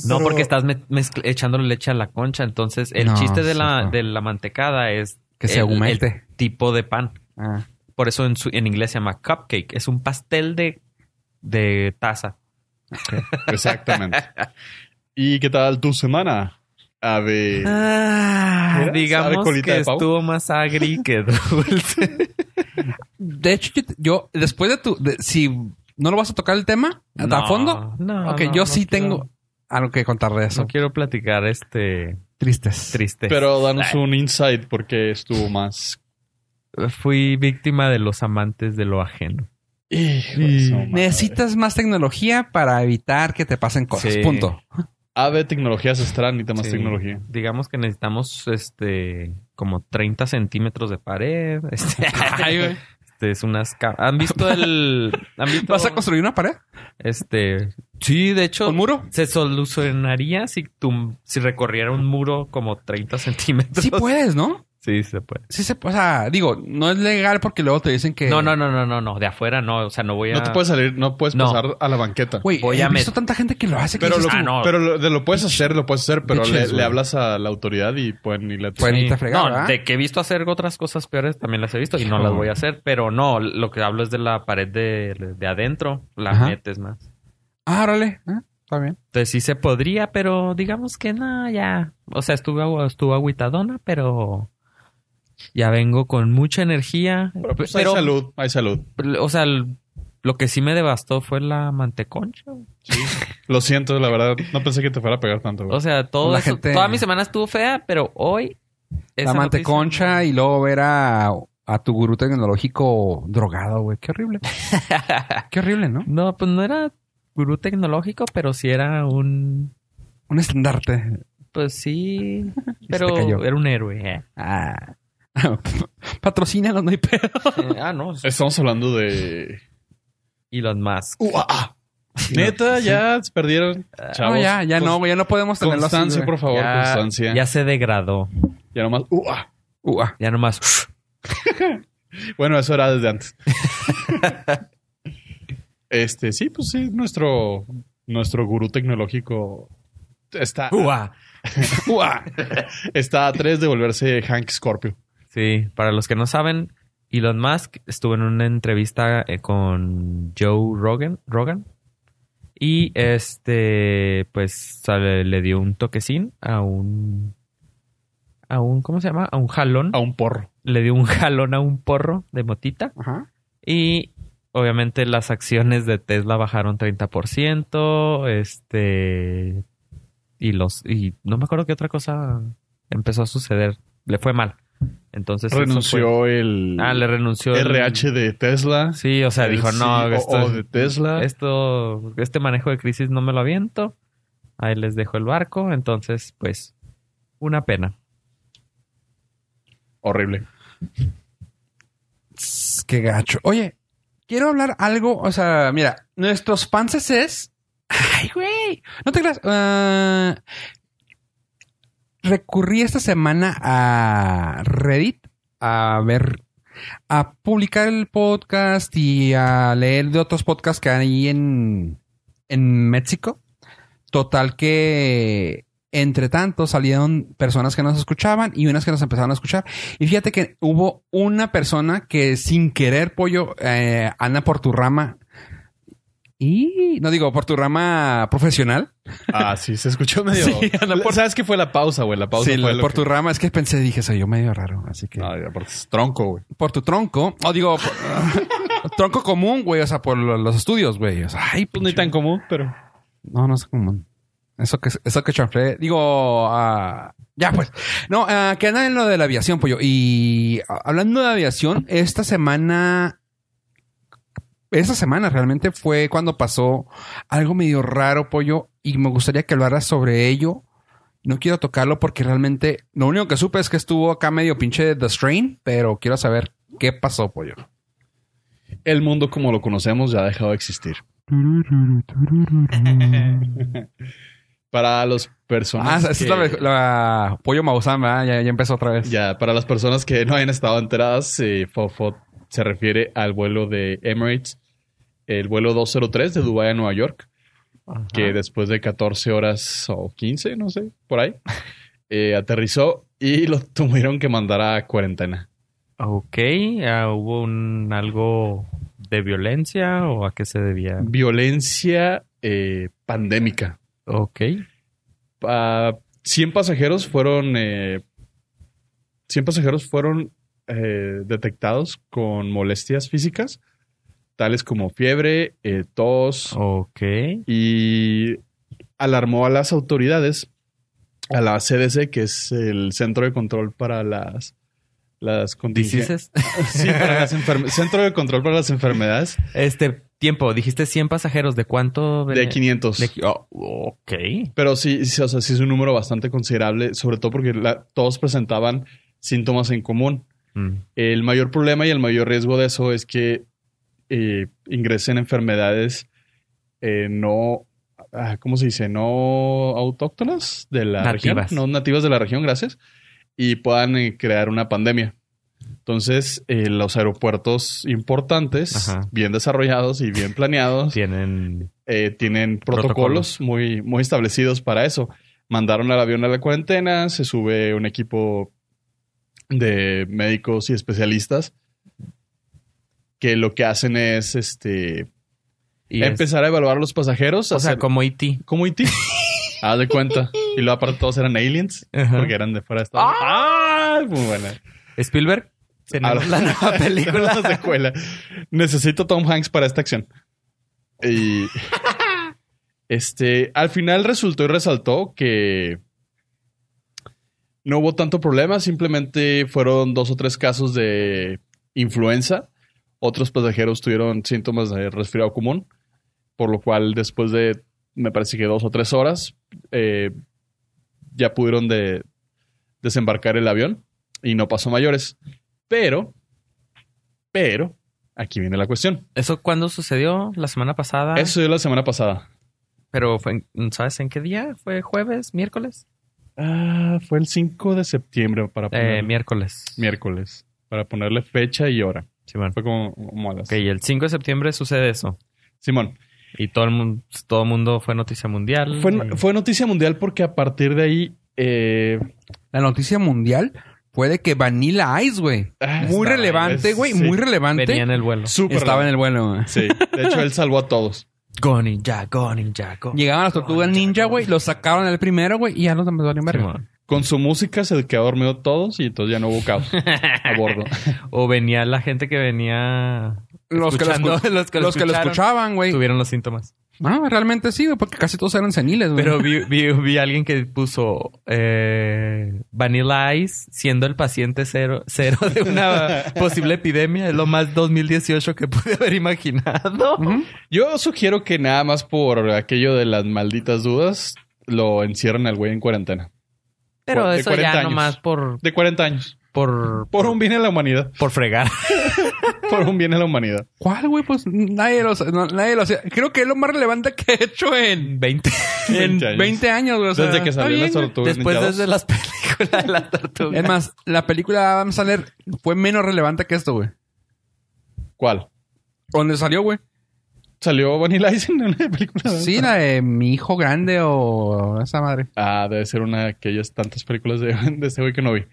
[SPEAKER 4] No,
[SPEAKER 3] Pero-
[SPEAKER 4] porque estás me- mezcl- echándole leche a la concha. Entonces, el
[SPEAKER 2] No,
[SPEAKER 4] chiste de
[SPEAKER 2] sí,
[SPEAKER 4] la,
[SPEAKER 2] no.
[SPEAKER 4] de la mantecada es...
[SPEAKER 2] Que se
[SPEAKER 4] el-
[SPEAKER 2] aumente.
[SPEAKER 4] el tipo de pan.
[SPEAKER 2] Ah.
[SPEAKER 4] Por eso en, su- en inglés se llama cupcake. Es un pastel de, de taza.
[SPEAKER 3] Exactamente. ¿Y qué tal tu semana? A ver...
[SPEAKER 4] Ah,
[SPEAKER 3] Mira, sabe
[SPEAKER 4] digamos
[SPEAKER 3] colita
[SPEAKER 4] que
[SPEAKER 3] de pavo.
[SPEAKER 4] estuvo más agri que dulce.
[SPEAKER 2] De hecho, yo, yo- después de tu... de- si no lo vas a tocar el tema a
[SPEAKER 4] No,
[SPEAKER 2] fondo,
[SPEAKER 4] no,
[SPEAKER 2] ok,
[SPEAKER 4] no,
[SPEAKER 2] yo
[SPEAKER 4] no
[SPEAKER 2] sí
[SPEAKER 4] quiero-
[SPEAKER 2] tengo algo que contar de eso.
[SPEAKER 4] No quiero platicar este
[SPEAKER 2] Tristes.
[SPEAKER 4] triste.
[SPEAKER 3] Pero danos un insight porque estuvo más...
[SPEAKER 4] Fui víctima de los amantes de lo ajeno.
[SPEAKER 3] Hijo de su
[SPEAKER 4] Mm.
[SPEAKER 3] madre.
[SPEAKER 2] Mm. Necesitas más tecnología para evitar que te pasen cosas.
[SPEAKER 4] Sí.
[SPEAKER 2] Punto.
[SPEAKER 3] Ave tecnología ancestral, necesita más
[SPEAKER 4] Sí.
[SPEAKER 3] tecnología.
[SPEAKER 4] Digamos que necesitamos este como 30 centímetros de pared. Este, este, es unas ca- ¿Han visto el. ¿Han visto
[SPEAKER 2] ¿Vas a construir una pared?
[SPEAKER 4] Este. Sí, de hecho.
[SPEAKER 2] ¿Un muro?
[SPEAKER 4] Se solucionaría si, tum- si recorriera un muro como 30 centímetros.
[SPEAKER 2] Sí puedes, ¿no?
[SPEAKER 4] Sí, se puede.
[SPEAKER 2] Sí se, o sea, digo, no es legal porque luego te dicen que
[SPEAKER 4] No, no, no, no, no, no. De afuera no. O sea, no voy a.
[SPEAKER 3] No te puedes salir, no puedes
[SPEAKER 4] No.
[SPEAKER 3] pasar a la banqueta.
[SPEAKER 2] Güey,
[SPEAKER 4] Voy
[SPEAKER 2] he
[SPEAKER 4] a
[SPEAKER 2] visto
[SPEAKER 4] met-
[SPEAKER 2] tanta gente que lo hace. que
[SPEAKER 3] Pero,
[SPEAKER 2] dices,
[SPEAKER 3] lo,
[SPEAKER 4] Ah, no.
[SPEAKER 3] pero lo, de lo puedes hacer, lo puedes hacer, pero
[SPEAKER 2] Bitches,
[SPEAKER 3] le,
[SPEAKER 2] güey.
[SPEAKER 3] le hablas a la autoridad y pueden ir a tu-
[SPEAKER 2] Pueden
[SPEAKER 4] Sí.
[SPEAKER 2] irte a fregar,
[SPEAKER 4] No,
[SPEAKER 2] ¿verdad?
[SPEAKER 4] de que he visto hacer otras cosas peores también las he visto y no las voy a hacer, pero no, lo que hablo es de la pared de, de adentro, la
[SPEAKER 2] Ajá.
[SPEAKER 4] metes más.
[SPEAKER 2] ah, órale. Ah, Está bien.
[SPEAKER 4] Entonces sí se podría, pero digamos que no, ya. O sea, estuve, agu- estuve agüitadona, pero ya vengo con mucha energía.
[SPEAKER 3] Pero, pues,
[SPEAKER 4] Pero,
[SPEAKER 3] hay salud, hay salud.
[SPEAKER 4] o sea, lo que sí me devastó fue la manteconcha.
[SPEAKER 3] Lo siento, la verdad, no pensé que te fuera a pegar tanto. güey.
[SPEAKER 4] O sea, todo
[SPEAKER 2] La
[SPEAKER 4] eso-
[SPEAKER 2] gente-
[SPEAKER 4] toda mi semana estuvo fea, pero hoy... esa
[SPEAKER 2] La manteconcha y luego ver a, a tu gurú tecnológico drogado, güey. Qué horrible. Qué horrible, ¿no?
[SPEAKER 4] noticia- No, pues no era gurú tecnológico, pero sí era un...
[SPEAKER 2] Un estandarte.
[SPEAKER 4] Pues sí,
[SPEAKER 2] cayó.
[SPEAKER 4] pero era un héroe. eh.
[SPEAKER 2] Ah. Patrocínalo, no hay pedo.
[SPEAKER 4] ah, no.
[SPEAKER 3] Estamos hablando de.
[SPEAKER 4] Elon Musk.
[SPEAKER 3] ¡Uah! Neta, ya se perdieron.
[SPEAKER 4] Ah,
[SPEAKER 3] Chavos.
[SPEAKER 2] no, ya, ya no, güey. Ya no
[SPEAKER 4] pues,
[SPEAKER 2] podemos tenerlo así,
[SPEAKER 3] Constancia,
[SPEAKER 2] güey.
[SPEAKER 3] por favor,
[SPEAKER 4] ya,
[SPEAKER 3] constancia.
[SPEAKER 4] ya
[SPEAKER 3] Ya,
[SPEAKER 4] se degradó.
[SPEAKER 3] nomás. ¡Uah!
[SPEAKER 2] Ua.
[SPEAKER 4] Ya nomás.
[SPEAKER 3] Bueno, eso era desde antes. este, sí, pues sí, nuestro, nuestro gurú tecnológico está,
[SPEAKER 4] ¡Uah!
[SPEAKER 3] ¡Uah! está a tres de volverse Hank Scorpio.
[SPEAKER 4] Sí, para los que no saben, Elon Musk estuvo en una entrevista eh, con Joe Rogan, Rogan y este, pues sale- le dio un toquecín a un, a un, ¿cómo se llama? A un jalón.
[SPEAKER 3] a un porro.
[SPEAKER 4] Le dio un jalón a un porro de motita.
[SPEAKER 2] Ajá.
[SPEAKER 4] Y obviamente las acciones de Tesla bajaron 30%. Este. Y los. Y no me acuerdo qué otra cosa empezó a suceder. Le fue mal. Entonces. eso fue-
[SPEAKER 3] Renunció el
[SPEAKER 4] ah, le renunció. el-
[SPEAKER 3] RH de Tesla.
[SPEAKER 4] Sí, o sea,
[SPEAKER 3] el
[SPEAKER 4] dijo, no,
[SPEAKER 3] COO
[SPEAKER 4] esto,
[SPEAKER 3] de Tesla.
[SPEAKER 4] esto- Este manejo de crisis no me lo aviento. Ahí les dejo el barco. Entonces, pues. Una pena.
[SPEAKER 3] Horrible.
[SPEAKER 2] Tss, Qué gacho. Oye, quiero hablar algo. O sea, mira, nuestros panzas es. Ay, güey. No te creas. Ah, recurrí esta semana a Reddit a ver, a publicar el podcast y a leer de otros podcasts que hay en, en México. Total que, entre tanto, salieron personas que nos escuchaban y unas que nos empezaron a escuchar. Y fíjate que hubo una persona que sin querer, pollo, eh, anda por tu rama. Y no digo por tu rama profesional.
[SPEAKER 3] Ah, sí, se escuchó medio.
[SPEAKER 2] Sí, anda por-
[SPEAKER 3] ¿Sabes qué fue la pausa, güey? La pausa
[SPEAKER 2] Sí,
[SPEAKER 3] fue lo
[SPEAKER 2] por
[SPEAKER 3] que-
[SPEAKER 2] tu rama. Es que pensé, dije, soy yo medio raro. Así que.
[SPEAKER 3] No, ya, porque es tronco, güey.
[SPEAKER 2] por tu tronco. O digo, por- tronco común, güey. O sea, por lo- los estudios, güey. O sea, ay,
[SPEAKER 3] Pues no es tan común, pero.
[SPEAKER 2] No, no es común. Eso que, eso que chanflé. Digo, ah, ya pues. No, ah, que anda en lo de la aviación, pollo. Y ah, hablando de aviación, esta semana. Esta semana realmente fue cuando pasó algo medio raro, pollo. Y me gustaría que hablaras sobre ello. No quiero tocarlo porque realmente lo único que supe es que estuvo acá medio pinche The Strain, pero quiero saber qué pasó, pollo.
[SPEAKER 3] El mundo como lo conocemos ya ha dejado de existir. Para los
[SPEAKER 2] Ah,
[SPEAKER 3] personas.
[SPEAKER 2] esa es
[SPEAKER 3] que-
[SPEAKER 2] la, la- pollo Maussan, ¿verdad? ya, ya empezó otra vez.
[SPEAKER 3] Ya, para las personas que no hayan estado enteradas, eh, Fofo se refiere al vuelo de Emirates, el vuelo 203 de Dubái a Nueva York, que después de 14 horas o 15, no sé, por ahí, eh, aterrizó y lo tuvieron que mandar a cuarentena.
[SPEAKER 4] Ok, ah, ¿hubo un, algo de violencia o a qué se debía?
[SPEAKER 3] Violencia eh, pandémica.
[SPEAKER 4] Ok.
[SPEAKER 3] ah, 100 pasajeros fueron eh, 100 pasajeros fueron eh, detectados con molestias físicas tales como fiebre, eh, tos
[SPEAKER 4] Ok.
[SPEAKER 3] y alarmó a las autoridades a la CDC que es el Centro de Control para las las contingencias
[SPEAKER 4] ¿Dices?
[SPEAKER 3] sí, para las enferme- Centro de Control para las enfermedades
[SPEAKER 4] Este tiempo, dijiste 100 pasajeros. ¿De cuánto?
[SPEAKER 3] de
[SPEAKER 4] venía?
[SPEAKER 3] 500
[SPEAKER 4] De qui- oh, ok.
[SPEAKER 3] Pero sí, sí, o sea, sí es un número bastante considerable, sobre todo porque la- todos presentaban síntomas en común.
[SPEAKER 4] Mm.
[SPEAKER 3] El mayor problema y el mayor riesgo de eso es que eh, ingresen enfermedades eh, no, ah, ¿cómo se dice? No autóctonas de la
[SPEAKER 4] Nativas.
[SPEAKER 3] región, no nativas de la región, gracias, y puedan eh, crear una pandemia. Entonces, eh, los aeropuertos importantes,
[SPEAKER 4] Ajá.
[SPEAKER 3] bien desarrollados y bien planeados,
[SPEAKER 4] Tienen.
[SPEAKER 3] eh, tienen protocolos, Muy, muy establecidos para eso. Mandaron al avión a la cuarentena, se sube un equipo de médicos y especialistas que lo que hacen es este
[SPEAKER 4] y es-
[SPEAKER 3] empezar a evaluar a los pasajeros.
[SPEAKER 4] o sea,
[SPEAKER 3] hacer-
[SPEAKER 4] como IT.
[SPEAKER 3] como IT. Haz de cuenta. Y luego aparte todos eran aliens
[SPEAKER 4] Ajá.
[SPEAKER 3] porque eran de fuera de Estados Unidos. ¡Ah! Muy buena.
[SPEAKER 4] Spielberg. Tenemos
[SPEAKER 3] Ahora-
[SPEAKER 4] la nueva
[SPEAKER 3] Tenemos
[SPEAKER 4] película.
[SPEAKER 3] secuela. Necesito a Tom Hanks para esta acción. Y. este. Al final resultó y resaltó que. No hubo tanto problema, simplemente fueron dos o tres casos de influenza. Otros pasajeros tuvieron síntomas de resfriado común, por lo cual después de, me parece que dos o tres horas, eh, ya pudieron de, desembarcar el avión y no pasó mayores. Pero, pero, aquí viene la cuestión.
[SPEAKER 4] ¿Eso cuándo sucedió? ¿La semana pasada?
[SPEAKER 3] Eso sucedió la semana pasada.
[SPEAKER 4] Pero fue en- ¿sabes en qué día? ¿Fue jueves? ¿Miércoles?
[SPEAKER 3] Ah, fue el 5 de septiembre para
[SPEAKER 4] Eh,
[SPEAKER 3] ponerle-
[SPEAKER 4] miércoles.
[SPEAKER 3] miércoles. Para ponerle fecha y hora.
[SPEAKER 4] Simón.
[SPEAKER 3] Fue como, como a las-
[SPEAKER 4] Ok, el 5 de septiembre sucede eso.
[SPEAKER 3] Simón,
[SPEAKER 4] Y todo el mundo, todo el mundo fue noticia mundial. Mm.
[SPEAKER 3] fue, fue noticia mundial porque a partir de ahí... eh,
[SPEAKER 2] La noticia mundial fue de que Vanilla Ice, güey.
[SPEAKER 3] ah,
[SPEAKER 2] Muy
[SPEAKER 3] está-
[SPEAKER 2] relevante,
[SPEAKER 3] es-
[SPEAKER 2] güey.
[SPEAKER 3] sí,
[SPEAKER 2] Muy relevante.
[SPEAKER 4] Venía en el vuelo.
[SPEAKER 3] súper
[SPEAKER 2] Estaba en el vuelo, güey.
[SPEAKER 3] Sí, de hecho él salvó a todos.
[SPEAKER 4] Go ninja, go ninja, go.
[SPEAKER 2] Llegaban las tortugas ninja, güey. Lo sacaron el primero, güey. Y ya los demás valieron verga.
[SPEAKER 4] Simón.
[SPEAKER 3] Con su música se quedó dormido todos y entonces ya no hubo caos a bordo.
[SPEAKER 4] O venía la gente que venía
[SPEAKER 2] Los que, lo
[SPEAKER 4] Escuchando,
[SPEAKER 2] escu-
[SPEAKER 4] los que lo
[SPEAKER 2] los que lo
[SPEAKER 4] escucharon.
[SPEAKER 2] escuchaban, güey.
[SPEAKER 4] tuvieron los síntomas.
[SPEAKER 2] No, realmente sí, güey. Porque casi todos eran seniles, güey.
[SPEAKER 4] Pero vi, vi, vi a alguien que puso eh, Vanilla Ice siendo el paciente cero, cero de una posible epidemia. Es lo más 2018 que pude haber imaginado.
[SPEAKER 2] Ujú.
[SPEAKER 3] Yo sugiero que nada más por aquello de las malditas dudas, lo encierren al güey en cuarentena.
[SPEAKER 4] Pero
[SPEAKER 3] De
[SPEAKER 4] eso
[SPEAKER 3] 40
[SPEAKER 4] ya
[SPEAKER 3] años.
[SPEAKER 4] nomás por,
[SPEAKER 3] De 40 años.
[SPEAKER 4] por,
[SPEAKER 3] Por un bien a la humanidad.
[SPEAKER 4] por fregar.
[SPEAKER 3] Por un bien a la humanidad.
[SPEAKER 2] ¿Cuál, güey? Pues nadie lo, no, nadie lo hacía. Creo que es lo más relevante que he hecho en
[SPEAKER 4] 20.
[SPEAKER 2] en
[SPEAKER 3] 20 años.
[SPEAKER 2] 20 años, güey. O sea,
[SPEAKER 3] Desde que
[SPEAKER 2] está
[SPEAKER 3] salió
[SPEAKER 2] bien,
[SPEAKER 3] las
[SPEAKER 2] güey.
[SPEAKER 3] tortugas
[SPEAKER 4] Después
[SPEAKER 3] ninja dos.
[SPEAKER 4] desde las películas de la tortuga.
[SPEAKER 2] Es más, la película de Adam Sandler fue menos relevante que esto, güey.
[SPEAKER 3] ¿Cuál?
[SPEAKER 2] ¿Dónde salió, güey?
[SPEAKER 3] ¿Salió Vanilla Ice en una película?
[SPEAKER 2] Sí, la de Mi Hijo Grande o esa madre.
[SPEAKER 3] Ah, debe ser una de aquellas tantas películas de, de este güey que no vi.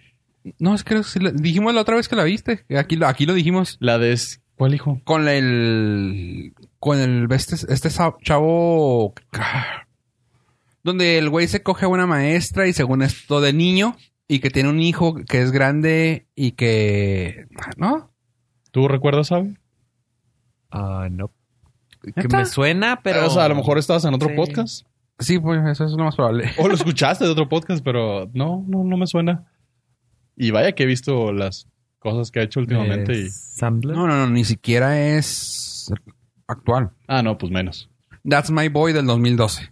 [SPEAKER 2] No, es que sí la- dijimos la otra vez que la viste. Aquí, lo- aquí lo dijimos.
[SPEAKER 3] La de... es- ¿Cuál hijo?
[SPEAKER 2] Con el... Con el... Este, este sa- chavo... Donde el güey se coge a una maestra y según esto de niño y que tiene un hijo que es grande y que... ¿No?
[SPEAKER 3] ¿Tú recuerdas, sabe?
[SPEAKER 4] Ah, no. Que
[SPEAKER 2] ¿Neta?
[SPEAKER 4] me suena, pero.
[SPEAKER 3] o sea, a lo mejor estabas en otro
[SPEAKER 4] Sí.
[SPEAKER 3] podcast.
[SPEAKER 2] Sí, pues eso es lo más probable.
[SPEAKER 3] O lo escuchaste de otro podcast, pero no, no, no me suena. Y vaya que he visto las cosas que ha hecho últimamente y...
[SPEAKER 4] Sandler.
[SPEAKER 2] No, no, no, ni siquiera es actual.
[SPEAKER 3] Ah, no, pues menos.
[SPEAKER 2] That's My Boy del 2012.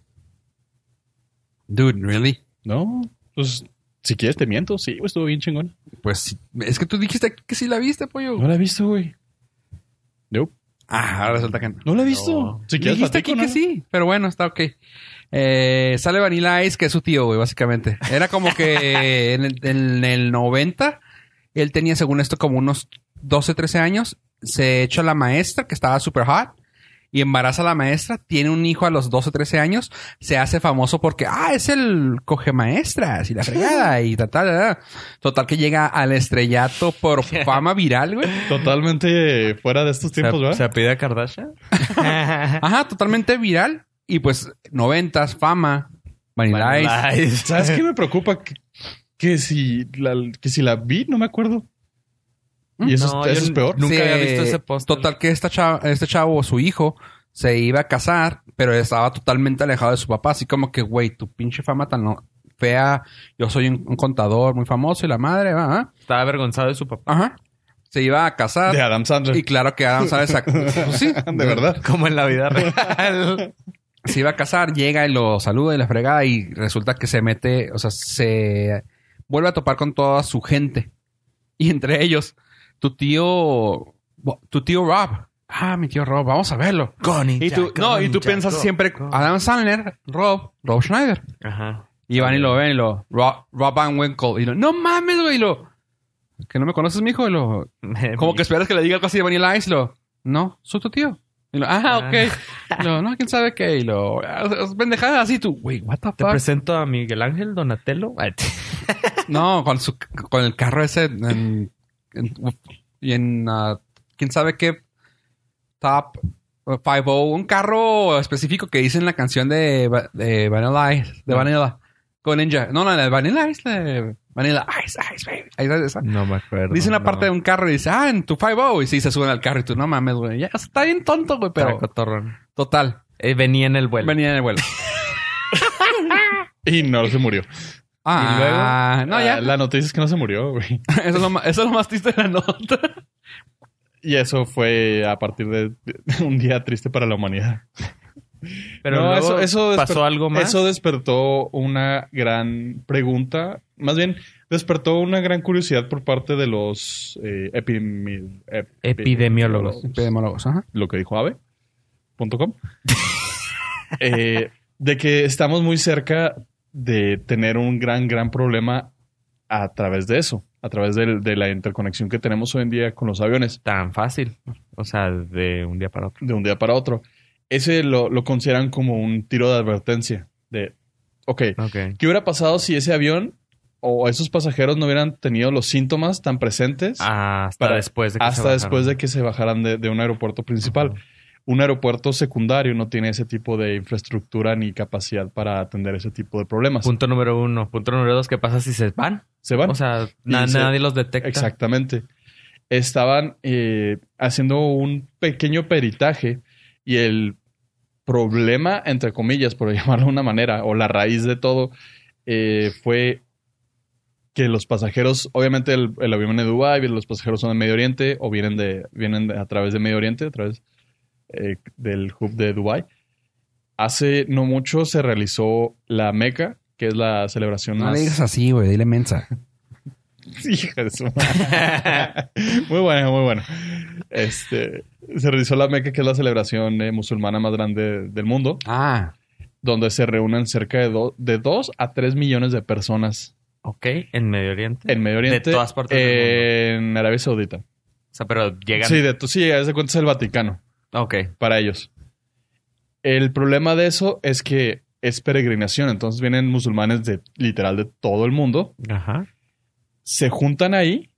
[SPEAKER 2] Dude, really?
[SPEAKER 3] No, pues si quieres te miento. Sí, güey, estuvo bien chingón.
[SPEAKER 2] Pues sí. es que tú dijiste que sí la viste, pollo.
[SPEAKER 3] No la he visto, güey. Nope.
[SPEAKER 2] Ah, ahora resulta que no.
[SPEAKER 3] No la he visto. Si quieres
[SPEAKER 2] dijiste
[SPEAKER 3] platico,
[SPEAKER 2] aquí
[SPEAKER 3] ¿no?
[SPEAKER 2] que sí, pero bueno, está ok. Eh, sale Vanilla Ice, que es su tío, güey, básicamente. Era como que en, el, en el 90, él tenía, según esto, como unos 12, 13 años. Se echa a la maestra, que estaba super hot, y embaraza a la maestra. Tiene un hijo a los 12, 13 años. Se hace famoso porque, ah, es el coge maestras y la fregada y tal, tal, tal. Total que llega al estrellato por fama viral, güey.
[SPEAKER 3] Totalmente fuera de estos tiempos,
[SPEAKER 4] ¿Se,
[SPEAKER 3] ¿verdad?
[SPEAKER 4] ¿Se apida Kardashian?
[SPEAKER 2] Ajá, totalmente viral. Y pues, noventas, fama, Vanilla Ice.
[SPEAKER 3] ¿Sabes qué me preocupa? Que, que si la, que si la vi, no me acuerdo. Y eso,
[SPEAKER 4] No,
[SPEAKER 3] es, eso
[SPEAKER 4] yo
[SPEAKER 3] es peor.
[SPEAKER 4] Nunca
[SPEAKER 2] Se-
[SPEAKER 4] había visto ese póster.
[SPEAKER 2] Total que esta chava, este chavo o su hijo se iba a casar, pero estaba totalmente alejado de su papá. Así como que, güey, tu pinche fama tan no- fea. Yo soy un, un contador muy famoso y la madre, va, va.
[SPEAKER 4] Estaba avergonzado de su papá.
[SPEAKER 2] Ajá. Se iba a
[SPEAKER 4] Ah.
[SPEAKER 2] casar.
[SPEAKER 3] De Adam Sandler.
[SPEAKER 2] Y claro que Adam Sandler sacó- pues sí,
[SPEAKER 3] de verdad.
[SPEAKER 4] Como en la vida real.
[SPEAKER 2] se iba a casar, llega y lo saluda y la fregada y resulta que se mete, o sea, se vuelve a topar con toda su gente. Y entre ellos, tu tío, tu tío Rob. Ah, mi tío Rob, vamos a verlo. Y tú, no, y tú piensas siempre, Adam Sandler, Rob, Rob Schneider.
[SPEAKER 4] Ajá.
[SPEAKER 2] Y van y lo ven y lo, Rob, Rob Van Winkle. Y lo, no mames, güey, y lo, que no me conoces, mijo. Y lo, como que esperas que le diga algo así de Vanilla Ice, lo, no, soy tu tío. Y lo, ah, ok. Y lo, no, quién sabe qué. Y lo, "Ah, es pendejada así tú, güey, what the
[SPEAKER 4] Te
[SPEAKER 2] fuck.
[SPEAKER 4] presento a Miguel Ángel Donatello. Ay, t-
[SPEAKER 2] No, con, su, con el carro ese en, en- y en ah, quién sabe qué top eh, 50, un carro específico que dice en la canción de, Va- de Vanilla Ice, de Vanilla, con Ninja. No, no, la de Vanilla Ice, la de Vanilla Ice, Ice, baby. Ahí está esa.
[SPEAKER 4] No me acuerdo.
[SPEAKER 2] Dice una
[SPEAKER 4] no.
[SPEAKER 2] parte de un carro y dice, ah, en tu 5 Y sí, se suben al carro y tú, no mames, güey. Ya, está bien tonto, güey, pero...
[SPEAKER 4] Para cotorrón.
[SPEAKER 2] Total.
[SPEAKER 4] Eh, venía en el vuelo.
[SPEAKER 2] Venía en el vuelo.
[SPEAKER 3] Y no se murió.
[SPEAKER 2] Ah, no, ya.
[SPEAKER 3] Ah, La noticia es que no se murió, güey.
[SPEAKER 2] Eso, es lo más, eso es lo más triste de la nota.
[SPEAKER 3] Y eso fue a partir de, de un día triste para la humanidad.
[SPEAKER 4] Pero
[SPEAKER 3] No,
[SPEAKER 4] luego
[SPEAKER 3] eso- eso
[SPEAKER 4] pasó
[SPEAKER 3] desper-
[SPEAKER 4] algo más.
[SPEAKER 3] Eso despertó una gran pregunta. Más bien, despertó una gran curiosidad por parte de los eh, epidemi- ep-
[SPEAKER 4] Epidemiólogos.
[SPEAKER 2] Epidemiólogos, ajá.
[SPEAKER 3] Lo que dijo ave.com. Eh, de que estamos muy cerca de tener un gran, gran problema a través de eso. A través del- de la interconexión que tenemos hoy en día con los aviones.
[SPEAKER 4] Tan fácil. O sea, de un día para otro.
[SPEAKER 3] de un día para otro. Ese lo, lo consideran como un tiro de advertencia. De, ok,
[SPEAKER 4] Ok.
[SPEAKER 3] ¿qué hubiera pasado si ese avión o esos pasajeros no hubieran tenido los síntomas tan presentes
[SPEAKER 4] Hasta
[SPEAKER 3] Para-
[SPEAKER 4] después Ah, de que
[SPEAKER 3] hasta después de que se bajaran de, de un aeropuerto principal? Un aeropuerto secundario no tiene ese tipo de infraestructura ni capacidad para atender ese tipo de problemas.
[SPEAKER 4] Punto número uno. Punto número dos. ¿Qué pasa si se van?
[SPEAKER 3] Se van.
[SPEAKER 4] O sea, na-
[SPEAKER 3] Y se-
[SPEAKER 4] nadie los detecta.
[SPEAKER 3] Exactamente. Estaban eh, haciendo un pequeño peritaje y el problema, entre comillas, por llamarlo de una manera, o la raíz de todo, eh, fue que los pasajeros, obviamente el, el avión viene de Dubái, los pasajeros son de Medio Oriente o vienen, de, vienen de- a través de Medio Oriente, a través eh, del hub de Dubái. Hace no mucho se realizó la Meca, que es la celebración
[SPEAKER 2] No
[SPEAKER 3] más...
[SPEAKER 2] le digas así, güey. Dile mensa.
[SPEAKER 3] Hija de su madre. Muy bueno, muy bueno. Este, se realizó la Meca, que es la celebración eh, musulmana más grande del mundo,
[SPEAKER 2] Ah,
[SPEAKER 3] donde se reúnen cerca de, do- de 2 a 3 millones de personas
[SPEAKER 4] Ok, en Medio Oriente.
[SPEAKER 3] en Medio Oriente.
[SPEAKER 4] todas partes del
[SPEAKER 3] En Arabia Saudita.
[SPEAKER 4] O sea, pero llegan.
[SPEAKER 3] Sí, de, to- sí, a ese cuenta es el Vaticano.
[SPEAKER 4] Ok.
[SPEAKER 3] para ellos. El problema de eso es que es peregrinación, entonces vienen musulmanes de literal de todo el mundo,
[SPEAKER 4] Ajá.
[SPEAKER 3] se juntan ahí,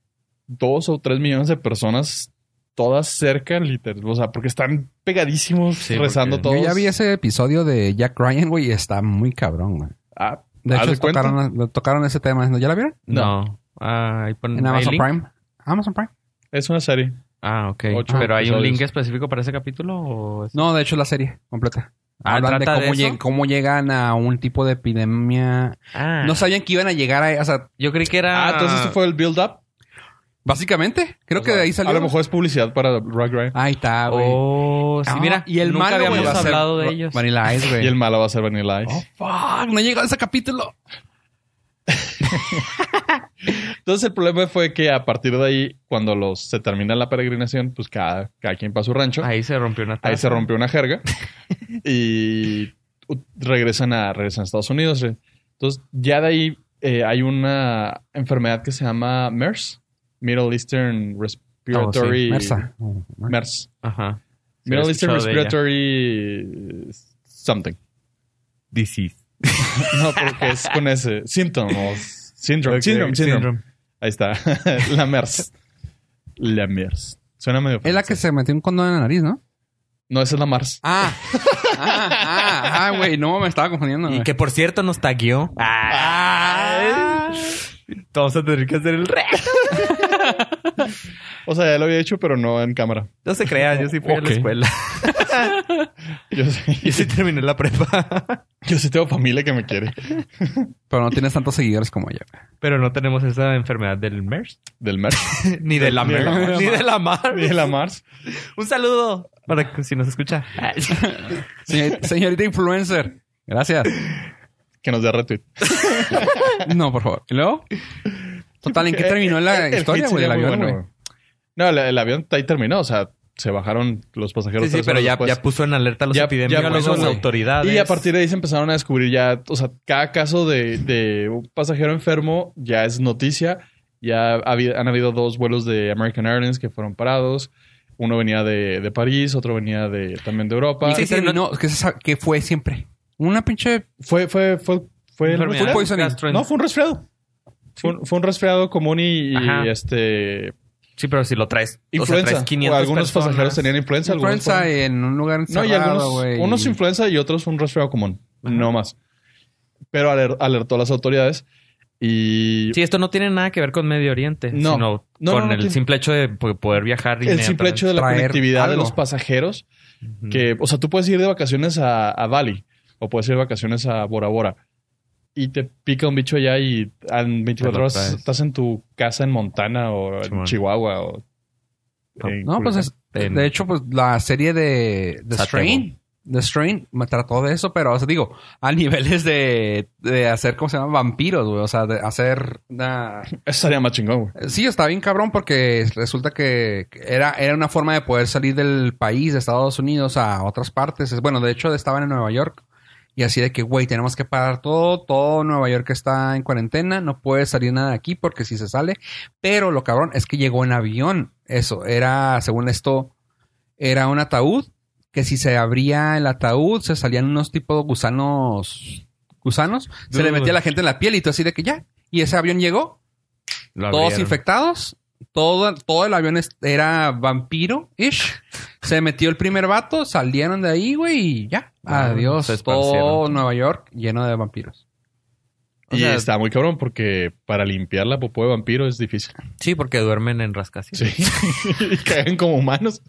[SPEAKER 3] dos o tres millones de personas, todas cerca, literal, o sea, porque están pegadísimos
[SPEAKER 4] Sí,
[SPEAKER 3] rezando
[SPEAKER 4] porque
[SPEAKER 3] todos.
[SPEAKER 2] yo ya vi ese episodio de Jack Ryan, güey, y está muy cabrón, güey.
[SPEAKER 3] Ah,
[SPEAKER 2] De
[SPEAKER 3] ¿haz
[SPEAKER 2] hecho,
[SPEAKER 3] cuenta?
[SPEAKER 2] tocaron, lo- tocaron ese tema. ¿No? ¿Ya la vieron?
[SPEAKER 4] No.
[SPEAKER 3] No.
[SPEAKER 4] Ah, ahí ponen-
[SPEAKER 2] En
[SPEAKER 4] ¿hay
[SPEAKER 2] Amazon
[SPEAKER 4] link?
[SPEAKER 2] Prime. Amazon Prime.
[SPEAKER 3] Es una serie.
[SPEAKER 4] Ah, ok.
[SPEAKER 3] Ocho
[SPEAKER 4] pero hay un
[SPEAKER 3] episodios.
[SPEAKER 4] link específico para ese capítulo o es-
[SPEAKER 2] No, de hecho, la serie completa.
[SPEAKER 4] Ah,
[SPEAKER 2] Hablan de
[SPEAKER 4] ¿trata
[SPEAKER 2] cómo,
[SPEAKER 4] de eso?
[SPEAKER 2] lleg- cómo llegan a un tipo de epidemia.
[SPEAKER 4] Ah.
[SPEAKER 2] No sabían que iban a llegar a... O sea,
[SPEAKER 4] Yo creí que era.
[SPEAKER 3] Ah, entonces esto fue el build-up.
[SPEAKER 2] básicamente, creo que de ahí salió.
[SPEAKER 3] A lo mejor es publicidad para Ryan.
[SPEAKER 2] Ahí está, güey.
[SPEAKER 4] Oh, sí,
[SPEAKER 2] Ah,
[SPEAKER 4] mira.
[SPEAKER 2] y el
[SPEAKER 4] nunca
[SPEAKER 2] malo, güey,
[SPEAKER 4] habíamos
[SPEAKER 2] va a ser
[SPEAKER 4] hablado de
[SPEAKER 2] Va-
[SPEAKER 4] ellos.
[SPEAKER 2] Vanilla Ice, güey.
[SPEAKER 3] Y el malo va a ser Vanilla Ice.
[SPEAKER 2] Oh, fuck. No he llegado a ese capítulo.
[SPEAKER 3] Entonces el problema fue que a partir de ahí, cuando los, se termina la peregrinación, pues cada, cada quien para su rancho.
[SPEAKER 4] Ahí se rompió una taza.
[SPEAKER 3] Ahí se rompió una jerga y u- regresan a, regresan a Estados Unidos. re- Entonces, ya de ahí eh, hay una enfermedad que se llama MERS, Middle Eastern Respiratory...
[SPEAKER 4] Oh,
[SPEAKER 2] Mersa.
[SPEAKER 3] MERS.
[SPEAKER 4] Ajá. Sí,
[SPEAKER 3] Middle
[SPEAKER 4] he
[SPEAKER 3] Eastern
[SPEAKER 4] escuchado de ella.
[SPEAKER 3] Respiratory... Something.
[SPEAKER 4] Disease.
[SPEAKER 3] No, porque es con ese. Symptom. o s- Síndrome.
[SPEAKER 4] Ok,
[SPEAKER 3] síndrome, síndrome.
[SPEAKER 4] síndrome.
[SPEAKER 3] Ahí está. la MERS. La MERS. Suena medio...
[SPEAKER 2] Es la que se metió un condón en la nariz, ¿no?
[SPEAKER 3] No, esa es la MARS.
[SPEAKER 2] Ah. ah, ah, ah, güey. No, me estaba confundiendo,
[SPEAKER 4] Y
[SPEAKER 2] güey.
[SPEAKER 4] que por cierto nos tagueó. Ah. Vamos a tener que hacer el re.
[SPEAKER 3] O sea, ya lo había hecho, pero no en cámara.
[SPEAKER 4] No se crean, yo sí fui a
[SPEAKER 3] Ok.
[SPEAKER 4] la escuela.
[SPEAKER 3] Yo sí-
[SPEAKER 4] Yo sí terminé la prepa.
[SPEAKER 3] Yo sí tengo familia que me quiere.
[SPEAKER 2] Pero no tienes tantos seguidores como yo. güey.
[SPEAKER 4] Pero no tenemos esa enfermedad del MERS.
[SPEAKER 3] Del MERS.
[SPEAKER 4] Ni de la
[SPEAKER 3] Ni de la
[SPEAKER 4] MERS.
[SPEAKER 3] Mars.
[SPEAKER 4] Ni de la MARS.
[SPEAKER 3] Y de la Mars.
[SPEAKER 4] Un saludo. Ah, Para que si nos escucha.
[SPEAKER 2] Señor- señorita influencer. Gracias.
[SPEAKER 3] Que nos dé retweet.
[SPEAKER 2] No, por favor. ¿Y luego? Total, ¿en qué terminó la
[SPEAKER 3] Eh, El- el
[SPEAKER 2] historia,
[SPEAKER 3] hit
[SPEAKER 2] güey, del
[SPEAKER 3] sería muy
[SPEAKER 2] avión,
[SPEAKER 3] bueno.
[SPEAKER 2] güey?
[SPEAKER 3] No, el, el avión ahí terminó. O sea, se bajaron los pasajeros.
[SPEAKER 4] Sí, sí,
[SPEAKER 3] tres
[SPEAKER 4] pero
[SPEAKER 3] horas
[SPEAKER 4] ya,
[SPEAKER 3] después.
[SPEAKER 4] ya puso en alerta a los
[SPEAKER 3] Ya- ya
[SPEAKER 4] epidemiólogos,
[SPEAKER 3] puso,
[SPEAKER 4] las
[SPEAKER 3] güey.
[SPEAKER 4] autoridades.
[SPEAKER 3] Y a partir de ahí se empezaron a descubrir ya... O sea, cada caso de, de un pasajero enfermo ya es noticia. Ya ha habi- han habido dos vuelos de American Airlines que fueron parados. Uno venía de, de París, otro venía de también de Europa.
[SPEAKER 2] ¿Y qué
[SPEAKER 4] Sí, sí,
[SPEAKER 2] terminó? ¿Qué, se sabe- qué fue siempre? Una pinche...
[SPEAKER 3] Fue, fue, fue, fue...
[SPEAKER 4] Enfermedad.
[SPEAKER 2] fue poisoning.
[SPEAKER 4] Gastro-
[SPEAKER 3] No, fue un resfriado. Fue, un- fue un resfriado común y- y
[SPEAKER 4] Ajá.
[SPEAKER 3] este
[SPEAKER 4] Sí, pero si lo traes. O sea,
[SPEAKER 3] Influenza.
[SPEAKER 4] traes 500
[SPEAKER 3] algunos
[SPEAKER 4] personas.
[SPEAKER 3] pasajeros tenían influenza. algunos
[SPEAKER 2] Influenza
[SPEAKER 3] fueron-
[SPEAKER 2] en un lugar
[SPEAKER 3] No, y algunos.
[SPEAKER 2] encerrado, güey.
[SPEAKER 3] Unos influenza y otros un resfriado común. No más. Pero aler- alertó a las autoridades y.
[SPEAKER 4] Sí, esto no tiene nada que ver con Medio Oriente.
[SPEAKER 3] No.
[SPEAKER 4] Sino
[SPEAKER 3] No,
[SPEAKER 4] con
[SPEAKER 3] no, no
[SPEAKER 4] el
[SPEAKER 3] tiene-
[SPEAKER 4] simple hecho de po- poder viajar.
[SPEAKER 3] El simple hecho de la
[SPEAKER 2] traer
[SPEAKER 3] conectividad de
[SPEAKER 2] algo.
[SPEAKER 3] los pasajeros,
[SPEAKER 4] Ujú.
[SPEAKER 3] que, o sea, tú puedes ir de vacaciones a, a Bali o puedes ir de vacaciones a Bora Bora y te pica un bicho allá y en 24
[SPEAKER 4] lo
[SPEAKER 3] horas
[SPEAKER 4] traes.
[SPEAKER 3] estás en tu casa en Montana o en
[SPEAKER 4] Simón.
[SPEAKER 3] Chihuahua o. en
[SPEAKER 2] No, pues es-
[SPEAKER 4] En-
[SPEAKER 2] de hecho, pues la serie de The
[SPEAKER 4] Satebo.
[SPEAKER 2] Strain, The Strain me trató de eso, pero, o sea, digo, a niveles de, de hacer, ¿cómo se llama? Vampiros, güey. O sea, de hacer... una-
[SPEAKER 3] Eso sería más chingón, güey.
[SPEAKER 2] Sí, está bien cabrón porque resulta que era, era una forma de poder salir del país, de Estados Unidos, a otras partes. Es- Bueno, de hecho, estaban en Nueva York. Y así de que, güey, tenemos que parar todo. Todo Nueva York está en cuarentena. No puede salir nada de aquí porque si se sale. Pero lo cabrón es que llegó en avión. Eso, era, según esto, era un ataúd. Que si se abría el ataúd, se salían unos tipos gusanos. Gusanos. Se le
[SPEAKER 4] Dude.
[SPEAKER 2] metía a la gente en la piel y todo así de que ya. Y ese avión llegó
[SPEAKER 4] Lo
[SPEAKER 2] todos
[SPEAKER 4] abrieron.
[SPEAKER 2] infectados. Todo, todo el avión es- era vampiro-ish. Se metió el primer vato, salieron de ahí, güey, y ya.
[SPEAKER 4] Ah,
[SPEAKER 2] Adiós.
[SPEAKER 4] se esparcieron.
[SPEAKER 2] Todo Nueva York lleno de vampiros.
[SPEAKER 4] O
[SPEAKER 3] y
[SPEAKER 4] sea-
[SPEAKER 3] está muy cabrón porque para limpiar la popó de vampiro es difícil.
[SPEAKER 4] Sí, porque duermen en rascacielos.
[SPEAKER 3] Sí. y caen como humanos.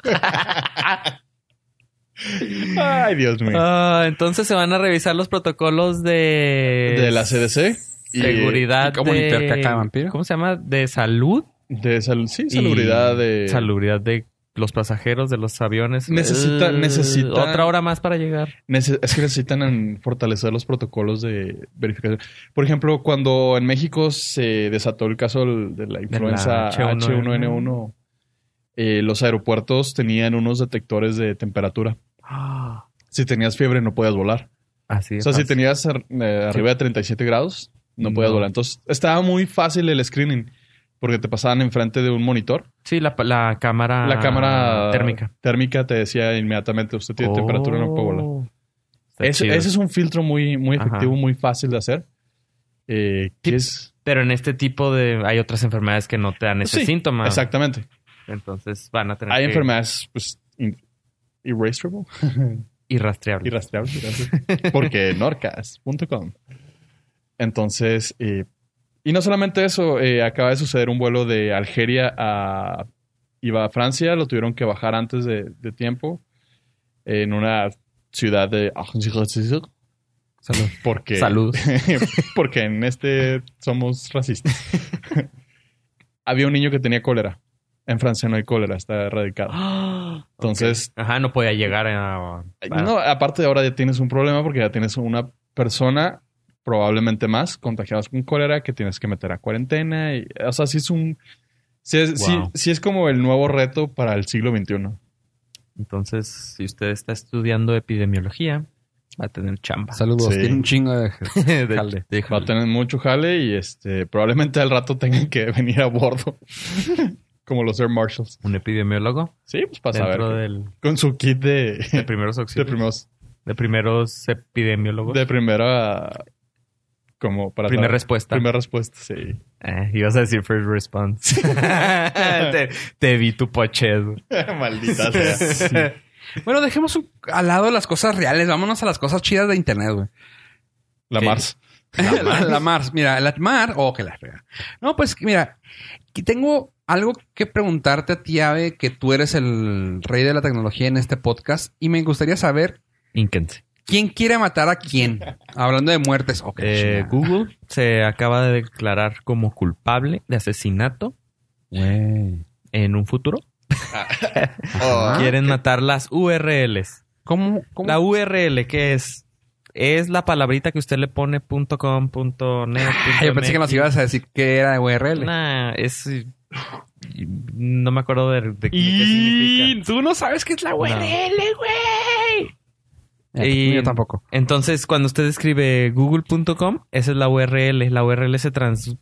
[SPEAKER 3] Ay, Dios mío.
[SPEAKER 4] Ah, entonces se van a revisar los protocolos de...
[SPEAKER 3] De la CDC. y
[SPEAKER 4] Seguridad
[SPEAKER 2] ¿Y cómo
[SPEAKER 4] de-
[SPEAKER 2] limpiar caca de vampiro?
[SPEAKER 4] ¿Cómo se llama? De salud.
[SPEAKER 3] De sal- sí, salubridad.
[SPEAKER 4] y
[SPEAKER 3] De,
[SPEAKER 4] Salubridad de los pasajeros de los aviones.
[SPEAKER 3] Necesita-
[SPEAKER 4] Eh,
[SPEAKER 3] necesita-
[SPEAKER 4] Otra hora más para llegar.
[SPEAKER 3] Nece- Es que necesitan en- fortalecer los protocolos de verificación. Por ejemplo, cuando en México se desató el caso del- de la influenza
[SPEAKER 4] H1N1,
[SPEAKER 3] H1N1, eh, los aeropuertos tenían unos detectores de temperatura.
[SPEAKER 4] Ah,
[SPEAKER 3] Si tenías fiebre no podías volar.
[SPEAKER 4] Así
[SPEAKER 3] O
[SPEAKER 4] es.
[SPEAKER 3] sea, si tenías ar- eh, arriba de 37 grados, no podías
[SPEAKER 4] No.
[SPEAKER 3] volar. Entonces, estaba muy fácil el screening porque te pasaban enfrente de un monitor.
[SPEAKER 4] Sí, la, la cámara.
[SPEAKER 3] La cámara
[SPEAKER 4] Ah, Térmica.
[SPEAKER 3] térmica te decía inmediatamente, usted tiene temperatura, no puede volar.
[SPEAKER 4] Oh. Está
[SPEAKER 3] Ese,
[SPEAKER 4] chido.
[SPEAKER 3] ese es un filtro muy, muy efectivo,
[SPEAKER 4] Ajá.
[SPEAKER 3] muy fácil de hacer. Eh, que
[SPEAKER 4] Sí,
[SPEAKER 3] es-
[SPEAKER 4] Pero en este tipo de. Hay otras enfermedades que no te dan ese
[SPEAKER 3] Sí,
[SPEAKER 4] síntoma.
[SPEAKER 3] Exactamente.
[SPEAKER 4] Entonces van a tener.
[SPEAKER 3] Hay
[SPEAKER 4] que-
[SPEAKER 3] enfermedades pues, in- erasable,
[SPEAKER 4] Irrastreable.
[SPEAKER 3] irrastreables, gracias. porque norcas.com. Entonces, eh, y no solamente eso, eh, acaba de suceder un vuelo de Algeria a. iba a Francia, lo tuvieron que bajar antes de, de tiempo en una ciudad de.
[SPEAKER 2] Salud.
[SPEAKER 3] Porque,
[SPEAKER 4] Salud.
[SPEAKER 3] porque en este somos racistas. Había un niño que tenía cólera. En Francia no hay cólera, está erradicado.
[SPEAKER 4] Ah,
[SPEAKER 3] Entonces,
[SPEAKER 4] ok. Ajá, no podía llegar a.
[SPEAKER 3] no, aparte de ahora ya tienes un problema porque ya tienes una persona, probablemente más, contagiadas con cólera que tienes que meter a cuarentena. y- o sea, sí es un... Sí es, sí-
[SPEAKER 4] Wow.
[SPEAKER 3] sí es como el nuevo reto para el siglo XXI.
[SPEAKER 4] Entonces, si usted está estudiando epidemiología, va a tener chamba.
[SPEAKER 2] Saludos.
[SPEAKER 3] Sí.
[SPEAKER 2] Tiene un chingo de...
[SPEAKER 4] De-
[SPEAKER 2] Jale.
[SPEAKER 4] de-
[SPEAKER 3] Va a tener mucho jale y este probablemente al rato tengan que venir a bordo. como los Air Marshals.
[SPEAKER 4] un epidemiólogo
[SPEAKER 3] Sí, pues para saber.
[SPEAKER 4] dentro del,
[SPEAKER 3] Con su kit de,
[SPEAKER 4] de primeros
[SPEAKER 3] de
[SPEAKER 4] auxilios.
[SPEAKER 3] primeros
[SPEAKER 4] De primeros epidemiólogos.
[SPEAKER 3] De primera. Como para.
[SPEAKER 4] Pues. Primera
[SPEAKER 3] saber.
[SPEAKER 4] respuesta.
[SPEAKER 3] Primera respuesta, sí.
[SPEAKER 4] Eh, ibas a decir first response. te, te vi tu pochez.
[SPEAKER 3] Maldita sea.
[SPEAKER 2] Bueno, dejemos un- al lado las cosas reales. Vámonos a las cosas chidas de internet, güey.
[SPEAKER 3] La
[SPEAKER 4] Sí.
[SPEAKER 3] Mars.
[SPEAKER 2] La, la Mars. Mira, la Mars. Oh, que la fea. No, pues mira, que tengo algo que preguntarte a ti, Ave, que tú eres el rey de la tecnología en este podcast. Y me gustaría saber
[SPEAKER 4] Inquense.
[SPEAKER 2] quién quiere matar a quién. Hablando de muertes. Oh, que la
[SPEAKER 4] Eh,
[SPEAKER 2] chingada.
[SPEAKER 4] Google se acaba de declarar como culpable de asesinato en un futuro.
[SPEAKER 2] Ah,
[SPEAKER 4] Quieren matar las URLs.
[SPEAKER 2] ¿Cómo? cómo?
[SPEAKER 4] La URL, ¿qué es? Es la palabrita que usted le pone punto .com, punto .net,
[SPEAKER 2] Ah,
[SPEAKER 4] punto
[SPEAKER 2] yo pensé que nos
[SPEAKER 4] MX.
[SPEAKER 2] ibas a decir que era URL.
[SPEAKER 4] Nah, es... No me acuerdo de, de qué significa.
[SPEAKER 2] Y tú no sabes qué es la güey.
[SPEAKER 4] Y-
[SPEAKER 2] Yo tampoco.
[SPEAKER 4] Entonces, cuando usted escribe google.com, esa es la URL. La URL se, trans-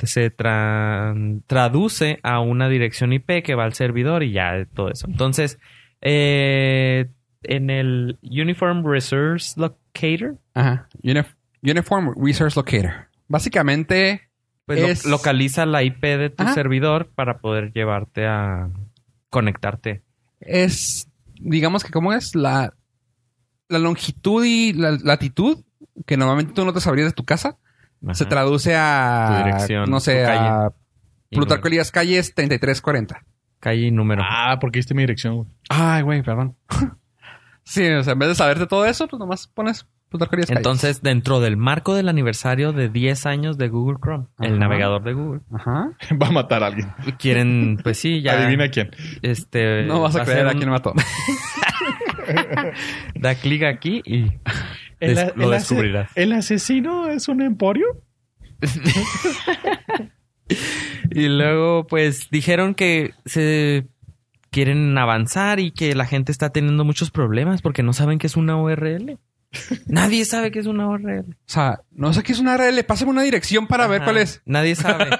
[SPEAKER 4] se tran- traduce a una dirección IP que va al servidor y ya todo eso. Entonces, eh, en el Uniform Resource Locator,
[SPEAKER 2] Ajá. Unif- Uniform Resource Locator. Básicamente,
[SPEAKER 4] pues lo-
[SPEAKER 2] Es-
[SPEAKER 4] localiza la IP de tu
[SPEAKER 2] Ajá.
[SPEAKER 4] servidor para poder llevarte a conectarte.
[SPEAKER 2] es, digamos que, ¿cómo es? La, la longitud y la latitud, que normalmente tú no te sabrías de tu casa, se
[SPEAKER 4] Ajá.
[SPEAKER 2] traduce a,
[SPEAKER 4] Tu dirección,
[SPEAKER 2] no sé,
[SPEAKER 4] tu calle.
[SPEAKER 2] a
[SPEAKER 4] Y
[SPEAKER 2] Plutarco
[SPEAKER 4] número.
[SPEAKER 2] Elías Calles 3340.
[SPEAKER 4] Calle y número.
[SPEAKER 3] Ah, porque diste mi dirección, güey.
[SPEAKER 2] Ay, güey, perdón. sí, o sea, en vez de saberte todo eso, pues nomás pones Plutarco Elías
[SPEAKER 4] pues
[SPEAKER 2] Calles.
[SPEAKER 4] Entonces, dentro del marco del aniversario de 10 años de Google Chrome, el
[SPEAKER 2] Ajá.
[SPEAKER 4] navegador de Google,
[SPEAKER 2] Ajá.
[SPEAKER 3] Va a matar a alguien.
[SPEAKER 4] quieren, pues sí, ya.
[SPEAKER 3] Adivina quién.
[SPEAKER 4] Este,
[SPEAKER 2] No vas
[SPEAKER 4] va
[SPEAKER 2] a creer
[SPEAKER 4] ser
[SPEAKER 2] a
[SPEAKER 4] un-
[SPEAKER 2] quién mató.
[SPEAKER 4] Da clic aquí y
[SPEAKER 3] El-
[SPEAKER 4] des- lo
[SPEAKER 3] el ase-
[SPEAKER 4] descubrirás.
[SPEAKER 3] ¿El asesino es un emporio?
[SPEAKER 4] Y luego, pues, dijeron que se quieren avanzar y que la gente está teniendo muchos problemas porque no saben qué es una URL. Nadie sabe qué es una URL.
[SPEAKER 2] O sea, no sé qué es una RL, pásame una dirección para ver
[SPEAKER 4] Ajá,
[SPEAKER 2] cuál es.
[SPEAKER 4] Nadie sabe.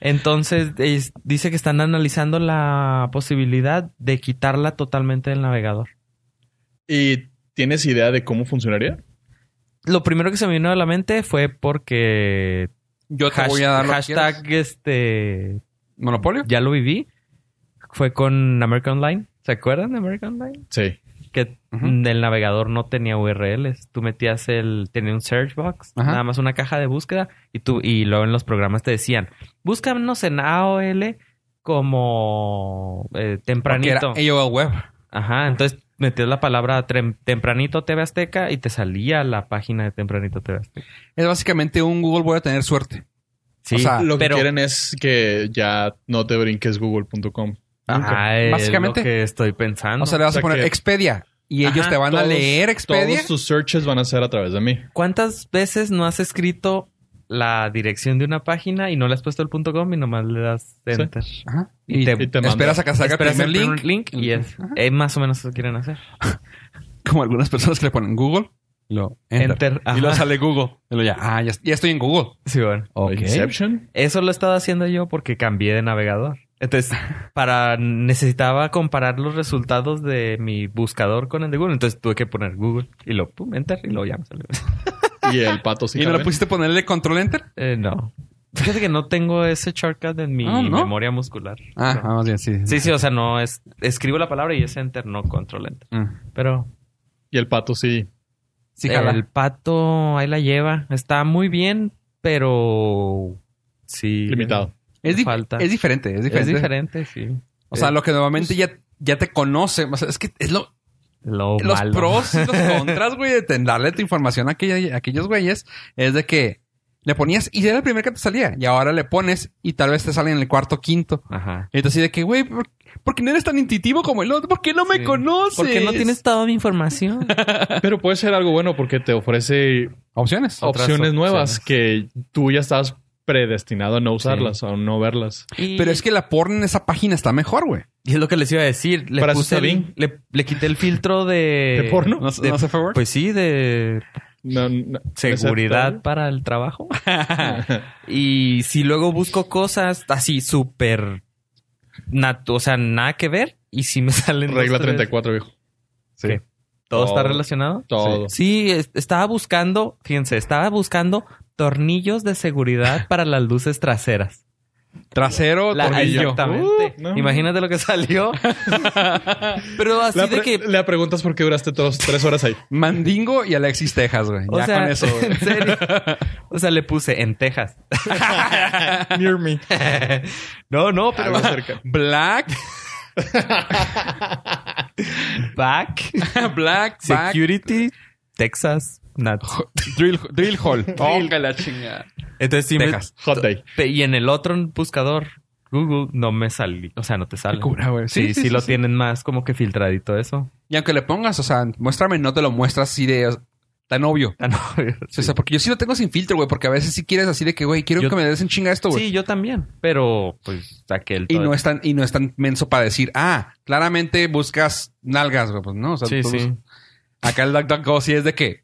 [SPEAKER 4] Entonces, es- dice que están analizando la posibilidad de quitarla totalmente del navegador.
[SPEAKER 3] ¿Y tienes idea de cómo funcionaría?
[SPEAKER 4] lo primero que se me vino a la mente fue porque
[SPEAKER 2] Yo te
[SPEAKER 4] hash-
[SPEAKER 2] voy a dar lo que
[SPEAKER 4] hashtag
[SPEAKER 2] quieras.
[SPEAKER 4] este
[SPEAKER 2] Monopolio.
[SPEAKER 4] ya lo viví fue con American Online ¿se acuerdan de American Online?
[SPEAKER 3] Sí.
[SPEAKER 4] que
[SPEAKER 2] Ujú.
[SPEAKER 4] el navegador no tenía URLs tú metías el tenía un search box
[SPEAKER 2] Ajá.
[SPEAKER 4] nada más una caja de búsqueda y tú y luego en los programas te decían búscanos en AOL como eh,
[SPEAKER 2] Porque
[SPEAKER 4] tempranito
[SPEAKER 2] era AOL Web.
[SPEAKER 4] ajá entonces metías la palabra trem- tempranito TV Azteca y te salía la página de tempranito TV Azteca
[SPEAKER 2] Es básicamente un Google voy a tener suerte.
[SPEAKER 4] Sí,
[SPEAKER 2] O sea, Ah,
[SPEAKER 3] Lo que
[SPEAKER 4] pero
[SPEAKER 3] quieren es que ya no te brinques google.com. Nunca.
[SPEAKER 4] Ajá, es
[SPEAKER 2] Básicamente.
[SPEAKER 4] lo que estoy pensando.
[SPEAKER 2] O sea, le vas
[SPEAKER 3] O sea
[SPEAKER 2] a poner
[SPEAKER 3] que-
[SPEAKER 2] Expedia. Y ellos
[SPEAKER 4] Ajá,
[SPEAKER 2] te van a
[SPEAKER 3] Todos-
[SPEAKER 2] leer Expedia.
[SPEAKER 3] Todos tus searches van a ser a través de mí.
[SPEAKER 4] ¿Cuántas veces no has escrito la dirección de una página y no le has puesto el punto .com y nomás le das enter?
[SPEAKER 2] Ajá.
[SPEAKER 4] Y
[SPEAKER 2] Y,
[SPEAKER 4] te-
[SPEAKER 2] te,
[SPEAKER 3] y te manda.
[SPEAKER 2] esperas a que salga el
[SPEAKER 4] Esperas
[SPEAKER 2] primer
[SPEAKER 4] el
[SPEAKER 2] link.
[SPEAKER 4] primer link y es,
[SPEAKER 2] Ajá.
[SPEAKER 4] es más o menos lo que quieren hacer.
[SPEAKER 2] Como algunas personas que le ponen Google. Lo enter.
[SPEAKER 4] Enter, ajá.
[SPEAKER 2] Y lo sale Google. Y lo ya, ah, ya, ya estoy en Google.
[SPEAKER 4] Sí, bueno.
[SPEAKER 2] Ok.
[SPEAKER 3] Inception.
[SPEAKER 4] Eso lo he estado haciendo yo porque cambié de navegador. Entonces, para necesitaba comparar los resultados de mi buscador con el de Google. Entonces tuve que poner Google y lo pum, enter y lo ya me salió.
[SPEAKER 3] Y el pato sí.
[SPEAKER 2] ¿Y no le
[SPEAKER 3] sabe.
[SPEAKER 2] pusiste ponerle control enter?
[SPEAKER 4] Eh, no. Fíjate que no tengo ese shortcut en mi
[SPEAKER 2] Ah, ¿no?
[SPEAKER 4] memoria muscular.
[SPEAKER 2] Ah,
[SPEAKER 4] No.
[SPEAKER 2] vamos bien, sí.
[SPEAKER 4] Sí, sí, o sea, no es. Escribo la palabra y es enter, no control enter.
[SPEAKER 2] Mm.
[SPEAKER 4] Pero
[SPEAKER 3] Y el pato sí.
[SPEAKER 2] Sí, jala.
[SPEAKER 4] el pato ahí la lleva. Está muy bien, pero. Sí.
[SPEAKER 3] Limitado.
[SPEAKER 2] Es, dif-
[SPEAKER 4] falta.
[SPEAKER 2] es diferente, es
[SPEAKER 4] Es
[SPEAKER 2] diferente. Pues-
[SPEAKER 4] diferente, sí.
[SPEAKER 2] O sea, lo que normalmente ya, ya te conoce. o sea, es que es lo,
[SPEAKER 4] Lo
[SPEAKER 2] los
[SPEAKER 4] malo.
[SPEAKER 2] pros y los contras, güey, de ten- darle tu información a, aquella- a aquellos güeyes es de que le ponías y era el primer que te salía. Y ahora le pones y tal vez te sale en el cuarto quinto.
[SPEAKER 4] Ajá.
[SPEAKER 2] Y entonces de que, güey, ¿por, por qué no eres tan intuitivo como el otro? ¿Por qué no me
[SPEAKER 4] Sí.
[SPEAKER 2] conoces?
[SPEAKER 4] Porque no tienes toda mi información.
[SPEAKER 3] Pero puede ser algo bueno porque te ofrece
[SPEAKER 2] opciones?
[SPEAKER 4] Otras
[SPEAKER 3] opciones nuevas
[SPEAKER 4] opciones.
[SPEAKER 3] que tú ya estás predestinado a no usarlas o no verlas.
[SPEAKER 4] Y-
[SPEAKER 2] Pero es que la porn en esa página está mejor, güey.
[SPEAKER 4] Y es lo que les iba a decir. Le
[SPEAKER 3] Para eso
[SPEAKER 4] puse
[SPEAKER 3] está
[SPEAKER 4] el-
[SPEAKER 3] bien.
[SPEAKER 4] le, le quité el filtro de...
[SPEAKER 3] ¿De porno?
[SPEAKER 2] ¿No,
[SPEAKER 4] de-
[SPEAKER 2] no se fue, güey?
[SPEAKER 4] Pues sí, de
[SPEAKER 3] No, no-
[SPEAKER 4] seguridad para el trabajo. y si luego busco cosas así súper... nat- O sea, nada que ver. Y si me salen... dos,
[SPEAKER 3] Regla
[SPEAKER 4] tres-
[SPEAKER 3] 34, viejo.
[SPEAKER 2] Sí.
[SPEAKER 4] ¿Qué? ¿Todo está
[SPEAKER 3] Todo.
[SPEAKER 4] relacionado?
[SPEAKER 3] Todo.
[SPEAKER 4] Sí, es- estaba buscando... Fíjense, estaba buscando tornillos de seguridad para las luces traseras.
[SPEAKER 2] Trasero,
[SPEAKER 4] La-
[SPEAKER 2] tornillo.
[SPEAKER 4] Exactamente.
[SPEAKER 3] Uh, no.
[SPEAKER 4] Imagínate lo que salió. Pero así
[SPEAKER 3] La
[SPEAKER 4] de
[SPEAKER 3] pre-
[SPEAKER 4] que...
[SPEAKER 3] Le preguntas por qué duraste todos tres horas ahí.
[SPEAKER 2] Mandingo y Alexis Texas, güey.
[SPEAKER 4] O
[SPEAKER 2] ya
[SPEAKER 4] sea,
[SPEAKER 2] con eso, güey.
[SPEAKER 4] en serio. O sea, le puse en Texas.
[SPEAKER 3] Near me.
[SPEAKER 4] no, no, pero
[SPEAKER 3] Algo cerca.
[SPEAKER 2] Black,
[SPEAKER 4] back,
[SPEAKER 2] Black, Back,
[SPEAKER 4] security, Texas, not.
[SPEAKER 2] Drill, drill Hall.
[SPEAKER 4] Oh.
[SPEAKER 2] Ponga la chingada.
[SPEAKER 4] Entonces sí me-
[SPEAKER 2] Texas.
[SPEAKER 3] Hot day.
[SPEAKER 4] Pe- y en el otro buscador Google no me salí, o sea, no te sale.
[SPEAKER 2] Qué cura, güey.
[SPEAKER 4] Sí, sí, lo tienen más como que filtradito eso.
[SPEAKER 2] Y aunque le pongas, o sea, muéstrame, no te lo muestras así de o sea, tan obvio.
[SPEAKER 4] Ah, no.
[SPEAKER 2] O sea, porque yo sí lo tengo sin filtro, güey, porque a veces sí quieres así de que, güey, quiero
[SPEAKER 4] Yo-
[SPEAKER 2] que me des en chinga esto, güey.
[SPEAKER 4] Sí, yo también, pero pues saqué el
[SPEAKER 2] Y no
[SPEAKER 4] todo.
[SPEAKER 2] es tan, y no es tan menso para decir, ah, claramente buscas nalgas, güey. Pues no, o sea,
[SPEAKER 4] Sí,
[SPEAKER 2] tú-
[SPEAKER 4] sí.
[SPEAKER 2] acá el DuckDuckGo sí es de que,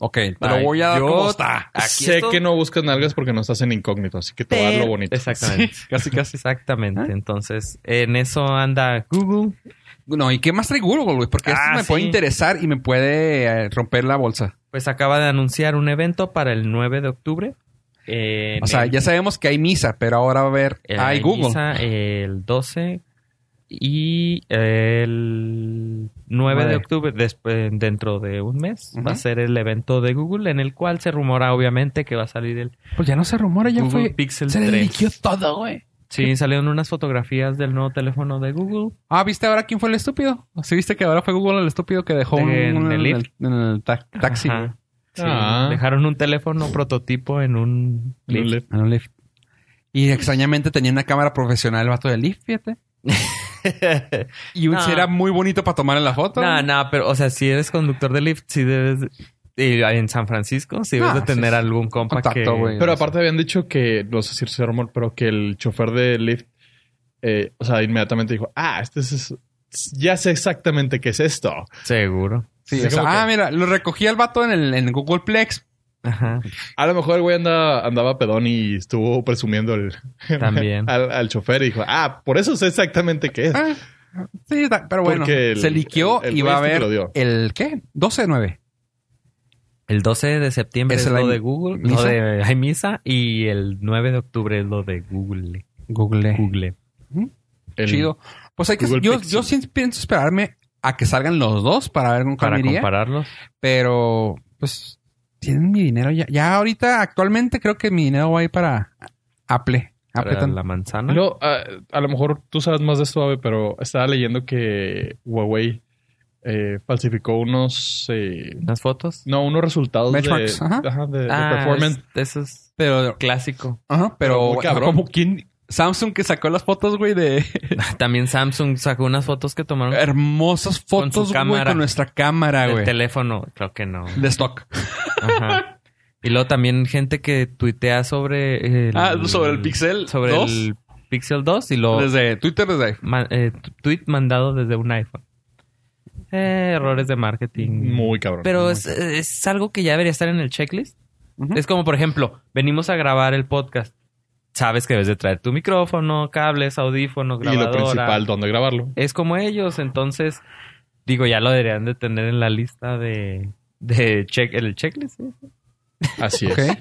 [SPEAKER 2] ok, te lo
[SPEAKER 4] Ay,
[SPEAKER 2] voy a dar
[SPEAKER 4] yo-
[SPEAKER 2] como está.
[SPEAKER 4] Aquí
[SPEAKER 3] sé
[SPEAKER 4] esto-
[SPEAKER 3] que no buscas nalgas porque no estás en incógnito, así que te voy a dar lo bonito.
[SPEAKER 4] Exactamente.
[SPEAKER 2] Casi, casi. Ah.
[SPEAKER 4] Exactamente. Entonces, en eso anda Google.
[SPEAKER 2] No, ¿y qué más trae Google, güey? Porque esto
[SPEAKER 4] Ah,
[SPEAKER 2] me puede
[SPEAKER 4] sí.
[SPEAKER 2] interesar y me puede eh, romper la bolsa.
[SPEAKER 4] Pues acaba de anunciar un evento para el 9 de octubre. Eh,
[SPEAKER 2] O sea,
[SPEAKER 4] en
[SPEAKER 2] ya sabemos que hay misa, pero ahora va a haber...
[SPEAKER 4] el-
[SPEAKER 2] hay
[SPEAKER 4] en
[SPEAKER 2] Google.
[SPEAKER 4] Ibiza, el 12 y el 9 de
[SPEAKER 2] Nueve.
[SPEAKER 4] octubre, después, dentro de un mes,
[SPEAKER 2] Ujú.
[SPEAKER 4] va a ser el evento de Google en el cual se rumora obviamente que va a salir el
[SPEAKER 2] Pues ya no se rumora, ya
[SPEAKER 4] Google
[SPEAKER 2] fue...
[SPEAKER 4] Pixel
[SPEAKER 2] Se le
[SPEAKER 4] 3.
[SPEAKER 2] liquió todo, güey.
[SPEAKER 4] Sí, salieron unas fotografías del nuevo teléfono de Google.
[SPEAKER 2] Ah, ¿viste ahora quién fue el estúpido? ¿Sí viste que ahora fue Google el estúpido que dejó
[SPEAKER 4] En
[SPEAKER 2] un- un-
[SPEAKER 4] el
[SPEAKER 2] en,
[SPEAKER 4] Lyft?
[SPEAKER 2] el, en el ta- taxi?
[SPEAKER 4] Ajá.
[SPEAKER 2] güey?
[SPEAKER 4] Sí,
[SPEAKER 3] Ah.
[SPEAKER 4] Dejaron un teléfono prototipo en un...
[SPEAKER 3] No
[SPEAKER 4] Lyft.
[SPEAKER 3] le-
[SPEAKER 2] En un Lyft. Y extrañamente tenía una cámara profesional el vato del Lyft, fíjate. Y un
[SPEAKER 4] No.
[SPEAKER 2] era muy bonito para tomar en la foto.
[SPEAKER 4] No, no, pero, o sea, si eres conductor de Lyft, si debes. y en San Francisco, si debes
[SPEAKER 2] No,
[SPEAKER 4] de tener
[SPEAKER 2] Ah, sí, sí.
[SPEAKER 4] algún compa
[SPEAKER 2] Contacto,
[SPEAKER 4] que.
[SPEAKER 2] güey.
[SPEAKER 3] Pero aparte habían dicho que, no sé si es rumor, pero que el chofer de Lyft, eh, o sea, inmediatamente dijo, ah, este es, ya sé exactamente qué es esto.
[SPEAKER 4] Seguro.
[SPEAKER 2] Sí,
[SPEAKER 3] Sí,
[SPEAKER 2] o sea,
[SPEAKER 3] como que-
[SPEAKER 2] ah, mira, lo recogí al vato en el en Google Plex.
[SPEAKER 4] Ajá.
[SPEAKER 3] A lo mejor el güey anda- andaba pedón y estuvo presumiendo el,
[SPEAKER 4] También.
[SPEAKER 3] al, al chofer y dijo, ah, por eso sé exactamente qué es.
[SPEAKER 2] Ah, sí, está- pero bueno,
[SPEAKER 3] Porque el-
[SPEAKER 2] se liqueó
[SPEAKER 3] el- el
[SPEAKER 2] y va a
[SPEAKER 3] güey este que
[SPEAKER 2] haber
[SPEAKER 3] lo dio.
[SPEAKER 2] el ¿qué? 12 de 9.
[SPEAKER 4] El 12 de septiembre es,
[SPEAKER 2] ¿Es el
[SPEAKER 4] lo
[SPEAKER 2] hay-
[SPEAKER 4] de Google. Lo
[SPEAKER 2] misa?
[SPEAKER 4] de hay misa. Y el 9 de octubre es lo de Google.
[SPEAKER 2] Google.
[SPEAKER 4] Google.
[SPEAKER 3] El-
[SPEAKER 2] Chido. Pues hay que
[SPEAKER 3] Google
[SPEAKER 2] yo,
[SPEAKER 3] Pixel.
[SPEAKER 2] yo sí pienso esperarme a que salgan los dos para ver con cuál
[SPEAKER 4] Para
[SPEAKER 2] me iría.
[SPEAKER 4] compararlos.
[SPEAKER 2] pero pues tienen mi dinero ya. Ya ahorita, actualmente, creo que mi dinero va a ir para Apple. Apple
[SPEAKER 4] Para
[SPEAKER 2] Ah, tan-
[SPEAKER 4] la manzana.
[SPEAKER 3] No, a, ah, a lo mejor tú sabes más de esto, Abe, pero estaba leyendo que Huawei eh, falsificó unos, eh,
[SPEAKER 4] Las fotos.
[SPEAKER 3] no, unos resultados de-
[SPEAKER 2] Benchmarks, ajá.
[SPEAKER 3] ajá, de, de
[SPEAKER 4] Ah,
[SPEAKER 3] performance.
[SPEAKER 4] es- eso es
[SPEAKER 2] Pero,
[SPEAKER 4] clásico.
[SPEAKER 2] ajá, pero,
[SPEAKER 3] Pero muy cabrón.
[SPEAKER 2] como quién Samsung que sacó las fotos, güey, de
[SPEAKER 4] También Samsung sacó unas fotos que tomaron
[SPEAKER 2] hermosas
[SPEAKER 4] Con su
[SPEAKER 2] fotos, güey,
[SPEAKER 4] cámara.
[SPEAKER 2] con nuestra cámara,
[SPEAKER 4] del
[SPEAKER 2] Eh, güey.
[SPEAKER 4] teléfono. Creo que no.
[SPEAKER 2] De stock.
[SPEAKER 4] Ajá. Y luego también gente que tuitea sobre el,
[SPEAKER 2] Ah, sobre el Pixel
[SPEAKER 4] sobre
[SPEAKER 2] 2.
[SPEAKER 4] el Pixel 2 y luego
[SPEAKER 2] Desde Twitter, desde ahí.
[SPEAKER 4] ma- eh, tu- tweet mandado desde un iPhone. Eh, errores de
[SPEAKER 2] Mm,
[SPEAKER 4] marketing.
[SPEAKER 3] Muy cabrón.
[SPEAKER 4] Pero
[SPEAKER 3] Muy
[SPEAKER 4] es, es algo que ya debería estar en el checklist.
[SPEAKER 2] Ujú.
[SPEAKER 4] Es como, por ejemplo, venimos a grabar el podcast. Sabes que debes de traer tu micrófono, cables, audífono,
[SPEAKER 3] cabrón. Y lo
[SPEAKER 4] grabadora.
[SPEAKER 3] principal, ¿dónde grabarlo?
[SPEAKER 4] Es como ellos, entonces, digo, ya lo deberían de tener en la lista de, de check, el checklist. ¿sí?
[SPEAKER 3] Así
[SPEAKER 2] Ok.
[SPEAKER 3] es.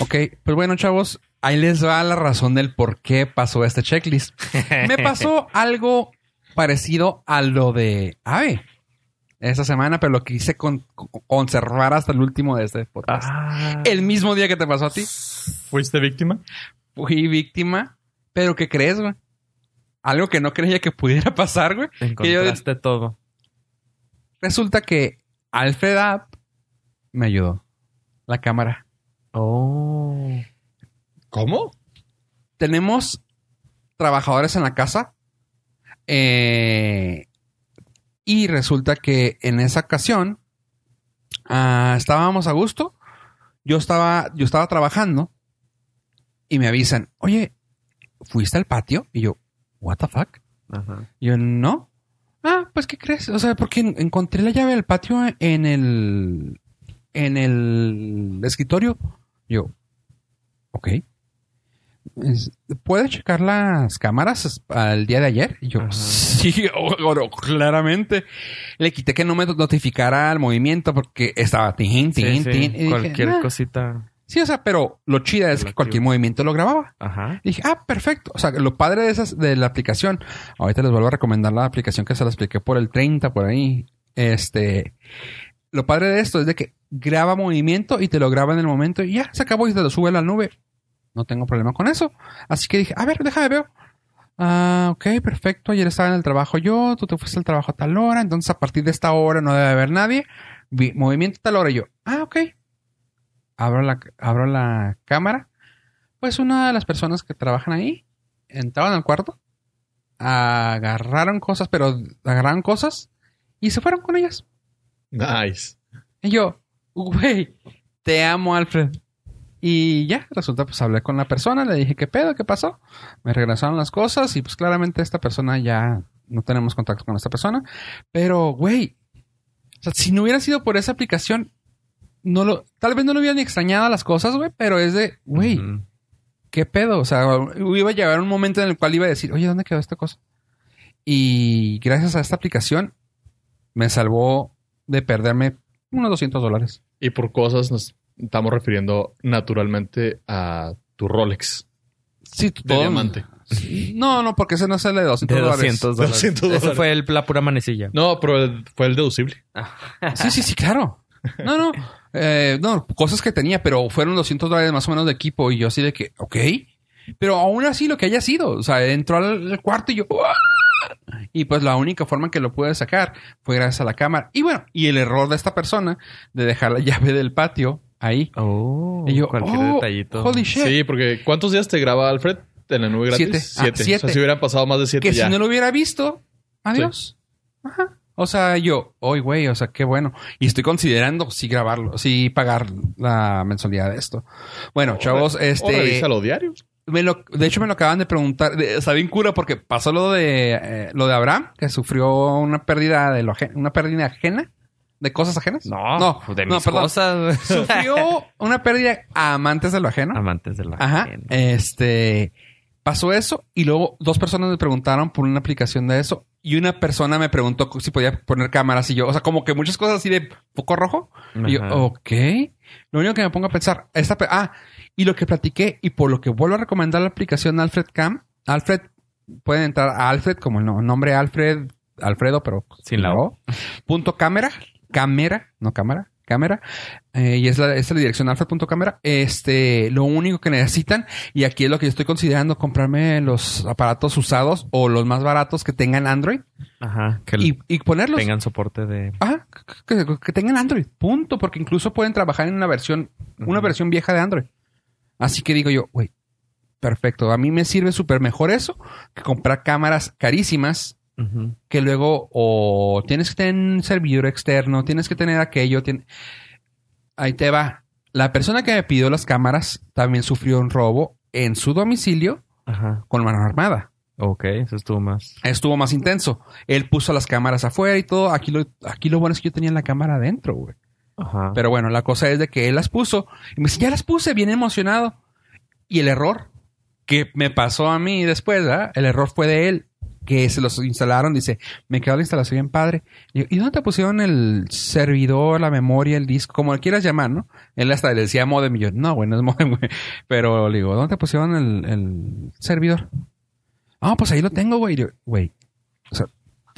[SPEAKER 2] ok, pues bueno, chavos, ahí les va la razón del por qué pasó este checklist. Me pasó algo parecido a lo de Ave esta semana, pero lo quise con- conservar hasta el último de este podcast.
[SPEAKER 4] Ah.
[SPEAKER 2] El mismo día que te pasó a ti,
[SPEAKER 3] ¿Fuiste víctima?
[SPEAKER 2] fui víctima, pero ¿qué crees, güey? Algo que no creía que pudiera pasar, güey.
[SPEAKER 4] Encontraste todo.
[SPEAKER 2] Resulta que Alfred App me ayudó. La cámara.
[SPEAKER 4] Oh.
[SPEAKER 3] ¿Cómo?
[SPEAKER 2] tenemos trabajadores en la casa. eh, y resulta que en esa ocasión ah, estábamos a gusto. Yo estaba, yo estaba trabajando y me avisan, oye, ¿fuiste al patio? Y yo, ¿What the fuck?
[SPEAKER 4] Ajá.
[SPEAKER 2] Y yo, no. Ah, pues, ¿qué crees? O sea, porque en- encontré la llave del patio en el. en el escritorio. Yo, ok. Es- ¿Puedes checar las cámaras es- al día de ayer? Y yo,
[SPEAKER 4] Ajá.
[SPEAKER 2] sí, oro, claramente. Le quité que no me notificara el movimiento porque estaba tin,
[SPEAKER 4] Sí,
[SPEAKER 2] tin,
[SPEAKER 4] sí,
[SPEAKER 2] tin. Y dije,
[SPEAKER 4] Cualquier
[SPEAKER 2] "Ah".
[SPEAKER 4] cosita.
[SPEAKER 2] Sí, o sea, pero lo chida es que
[SPEAKER 4] Relativo.
[SPEAKER 2] cualquier movimiento lo grababa.
[SPEAKER 4] Ajá.
[SPEAKER 2] Y dije, ah, perfecto. O sea, lo padre de esas de la aplicación. Ahorita les vuelvo a recomendar la aplicación que se la expliqué por el 30 por ahí. Este, lo padre de esto es de que graba movimiento y te lo graba en el momento y ya se acabó y te lo sube a la nube. No tengo problema con eso. Así que dije, a ver, déjame ver. Ah, ok, perfecto. Ayer estaba en el trabajo yo, tú te fuiste al trabajo a tal hora, entonces a partir de esta hora no debe haber nadie. Vi movimiento a tal hora y yo. Ah, ok. Abro la, abro la cámara pues una de las personas que trabajan ahí entraron al cuarto, agarraron cosas, pero agarraron cosas y se fueron con ellas.
[SPEAKER 3] Nice.
[SPEAKER 2] Y yo, güey, te amo, Alfred. Y ya, resulta, pues hablé con la persona, le dije, ¿qué pedo? ¿Qué pasó? Me regresaron las cosas y pues claramente esta persona ya no tenemos contacto con esta persona. Pero, güey, o sea, si no hubiera sido por esa aplicación, no lo, tal vez no lo hubieran extrañado las cosas, güey, pero es de, güey,
[SPEAKER 4] Ujú.
[SPEAKER 2] ¿qué pedo? O sea, iba a llegar un momento en el cual iba a decir, oye, ¿dónde quedó esta cosa? Y gracias a esta aplicación me salvó de perderme unos 200 dólares.
[SPEAKER 3] Y por cosas nos estamos refiriendo naturalmente a tu Rolex
[SPEAKER 2] Sí,
[SPEAKER 3] de diamante.
[SPEAKER 2] No, no, porque ese no es el de 200
[SPEAKER 4] De
[SPEAKER 2] dólares.
[SPEAKER 4] 200 dólares.
[SPEAKER 3] 200
[SPEAKER 4] Eso
[SPEAKER 3] dólares.
[SPEAKER 4] fue el- la pura manecilla.
[SPEAKER 3] No, pero el- fue el deducible.
[SPEAKER 2] Sí, sí, sí, claro. No, no. Eh, no, cosas que tenía, pero fueron 200 dólares más o menos de equipo y yo así de que, ok. Pero aún así lo que haya sido, o sea, entró al al cuarto y yo... ¡ah! Y pues la única forma que lo pude sacar fue gracias a la cámara. Y bueno, y el error de esta persona de dejar la llave del patio ahí.
[SPEAKER 4] Oh.
[SPEAKER 2] Y yo,
[SPEAKER 4] cualquier
[SPEAKER 2] oh,
[SPEAKER 4] detallito.
[SPEAKER 2] Holy shit.
[SPEAKER 3] Sí, porque ¿cuántos días te graba Alfred en la nube gratis?
[SPEAKER 2] Siete. Ah,
[SPEAKER 3] O sea,
[SPEAKER 2] siete.
[SPEAKER 3] si hubieran pasado más de siete
[SPEAKER 2] que
[SPEAKER 3] pues ya.
[SPEAKER 2] si no lo hubiera visto, adiós. Ajá. O sea, yo, hoy, güey, o sea, qué bueno. Y estoy considerando si grabarlo, si pagar la mensualidad de esto. Bueno, chavos,
[SPEAKER 3] O
[SPEAKER 2] este.
[SPEAKER 3] revísalo diario.
[SPEAKER 2] me lo- de hecho, me lo acaban de preguntar. De- Está bien cura porque pasó lo de eh, lo de Abraham, que sufrió una pérdida de lo aje- una pérdida ajena, de cosas ajenas.
[SPEAKER 4] No,
[SPEAKER 2] no,
[SPEAKER 4] de
[SPEAKER 2] no,
[SPEAKER 4] mis
[SPEAKER 2] perdón.
[SPEAKER 4] cosas.
[SPEAKER 2] Sufrió una pérdida a amantes de lo ajeno.
[SPEAKER 4] Amantes de la
[SPEAKER 2] Ajá.
[SPEAKER 4] gente.
[SPEAKER 2] Este pasó eso y luego dos personas me preguntaron por una aplicación de eso y una persona me preguntó si podía poner cámaras y yo, o sea, como que muchas cosas así de poco rojo. Y yo, oh.
[SPEAKER 4] Ajá.
[SPEAKER 2] ok. Lo único que me pongo a pensar, esta, pe- ah, y lo que platiqué y por lo que vuelvo a recomendar la aplicación Alfred Cam, Alfred, pueden entrar a Alfred como el no- nombre Alfred, Alfredo, pero
[SPEAKER 4] Sin la
[SPEAKER 2] O. Punto cámara, cámara, no cámara, cámara. Eh, y es la, es la dirección alfa.cámara. Este, lo único que necesitan, y aquí es lo que yo estoy considerando, comprarme los aparatos usados o los más baratos que tengan Android
[SPEAKER 4] Ajá. Que
[SPEAKER 2] y, y ponerlos.
[SPEAKER 4] tengan soporte de.
[SPEAKER 2] Ajá, que, que- que tengan Android, punto, porque incluso pueden trabajar en una versión, una
[SPEAKER 4] Ujú.
[SPEAKER 2] versión vieja de Android. Así que digo yo, güey, perfecto. A mí me sirve súper mejor eso que comprar cámaras carísimas
[SPEAKER 4] Ujú.
[SPEAKER 2] que luego o tienes que tener un servidor externo, tienes que tener aquello. tien- Ahí te va. La persona que me pidió las cámaras también sufrió un robo en su domicilio
[SPEAKER 4] Ajá.
[SPEAKER 2] con mano armada.
[SPEAKER 4] Ok, eso estuvo más.
[SPEAKER 2] Estuvo más intenso. Él puso las cámaras afuera y todo. Aquí lo, aquí lo bueno es que yo tenía la cámara adentro, güey.
[SPEAKER 4] Ajá.
[SPEAKER 2] Pero bueno, la cosa es de que él las puso. Y me dice, ya las puse, bien emocionado. Y el error que me pasó a mí después, ¿verdad? El error fue de él, que se los instalaron. Dice, me quedó la instalación bien padre. Y, yo, ¿Y dónde te pusieron el servidor, la memoria, el disco? Como le quieras llamar, ¿no? Él hasta le decía modem. Y yo, no, güey, no es modem, güey. Pero le digo, ¿dónde te pusieron el, el servidor? Ah, pues ahí lo tengo, güey. Y yo, güey. O sea,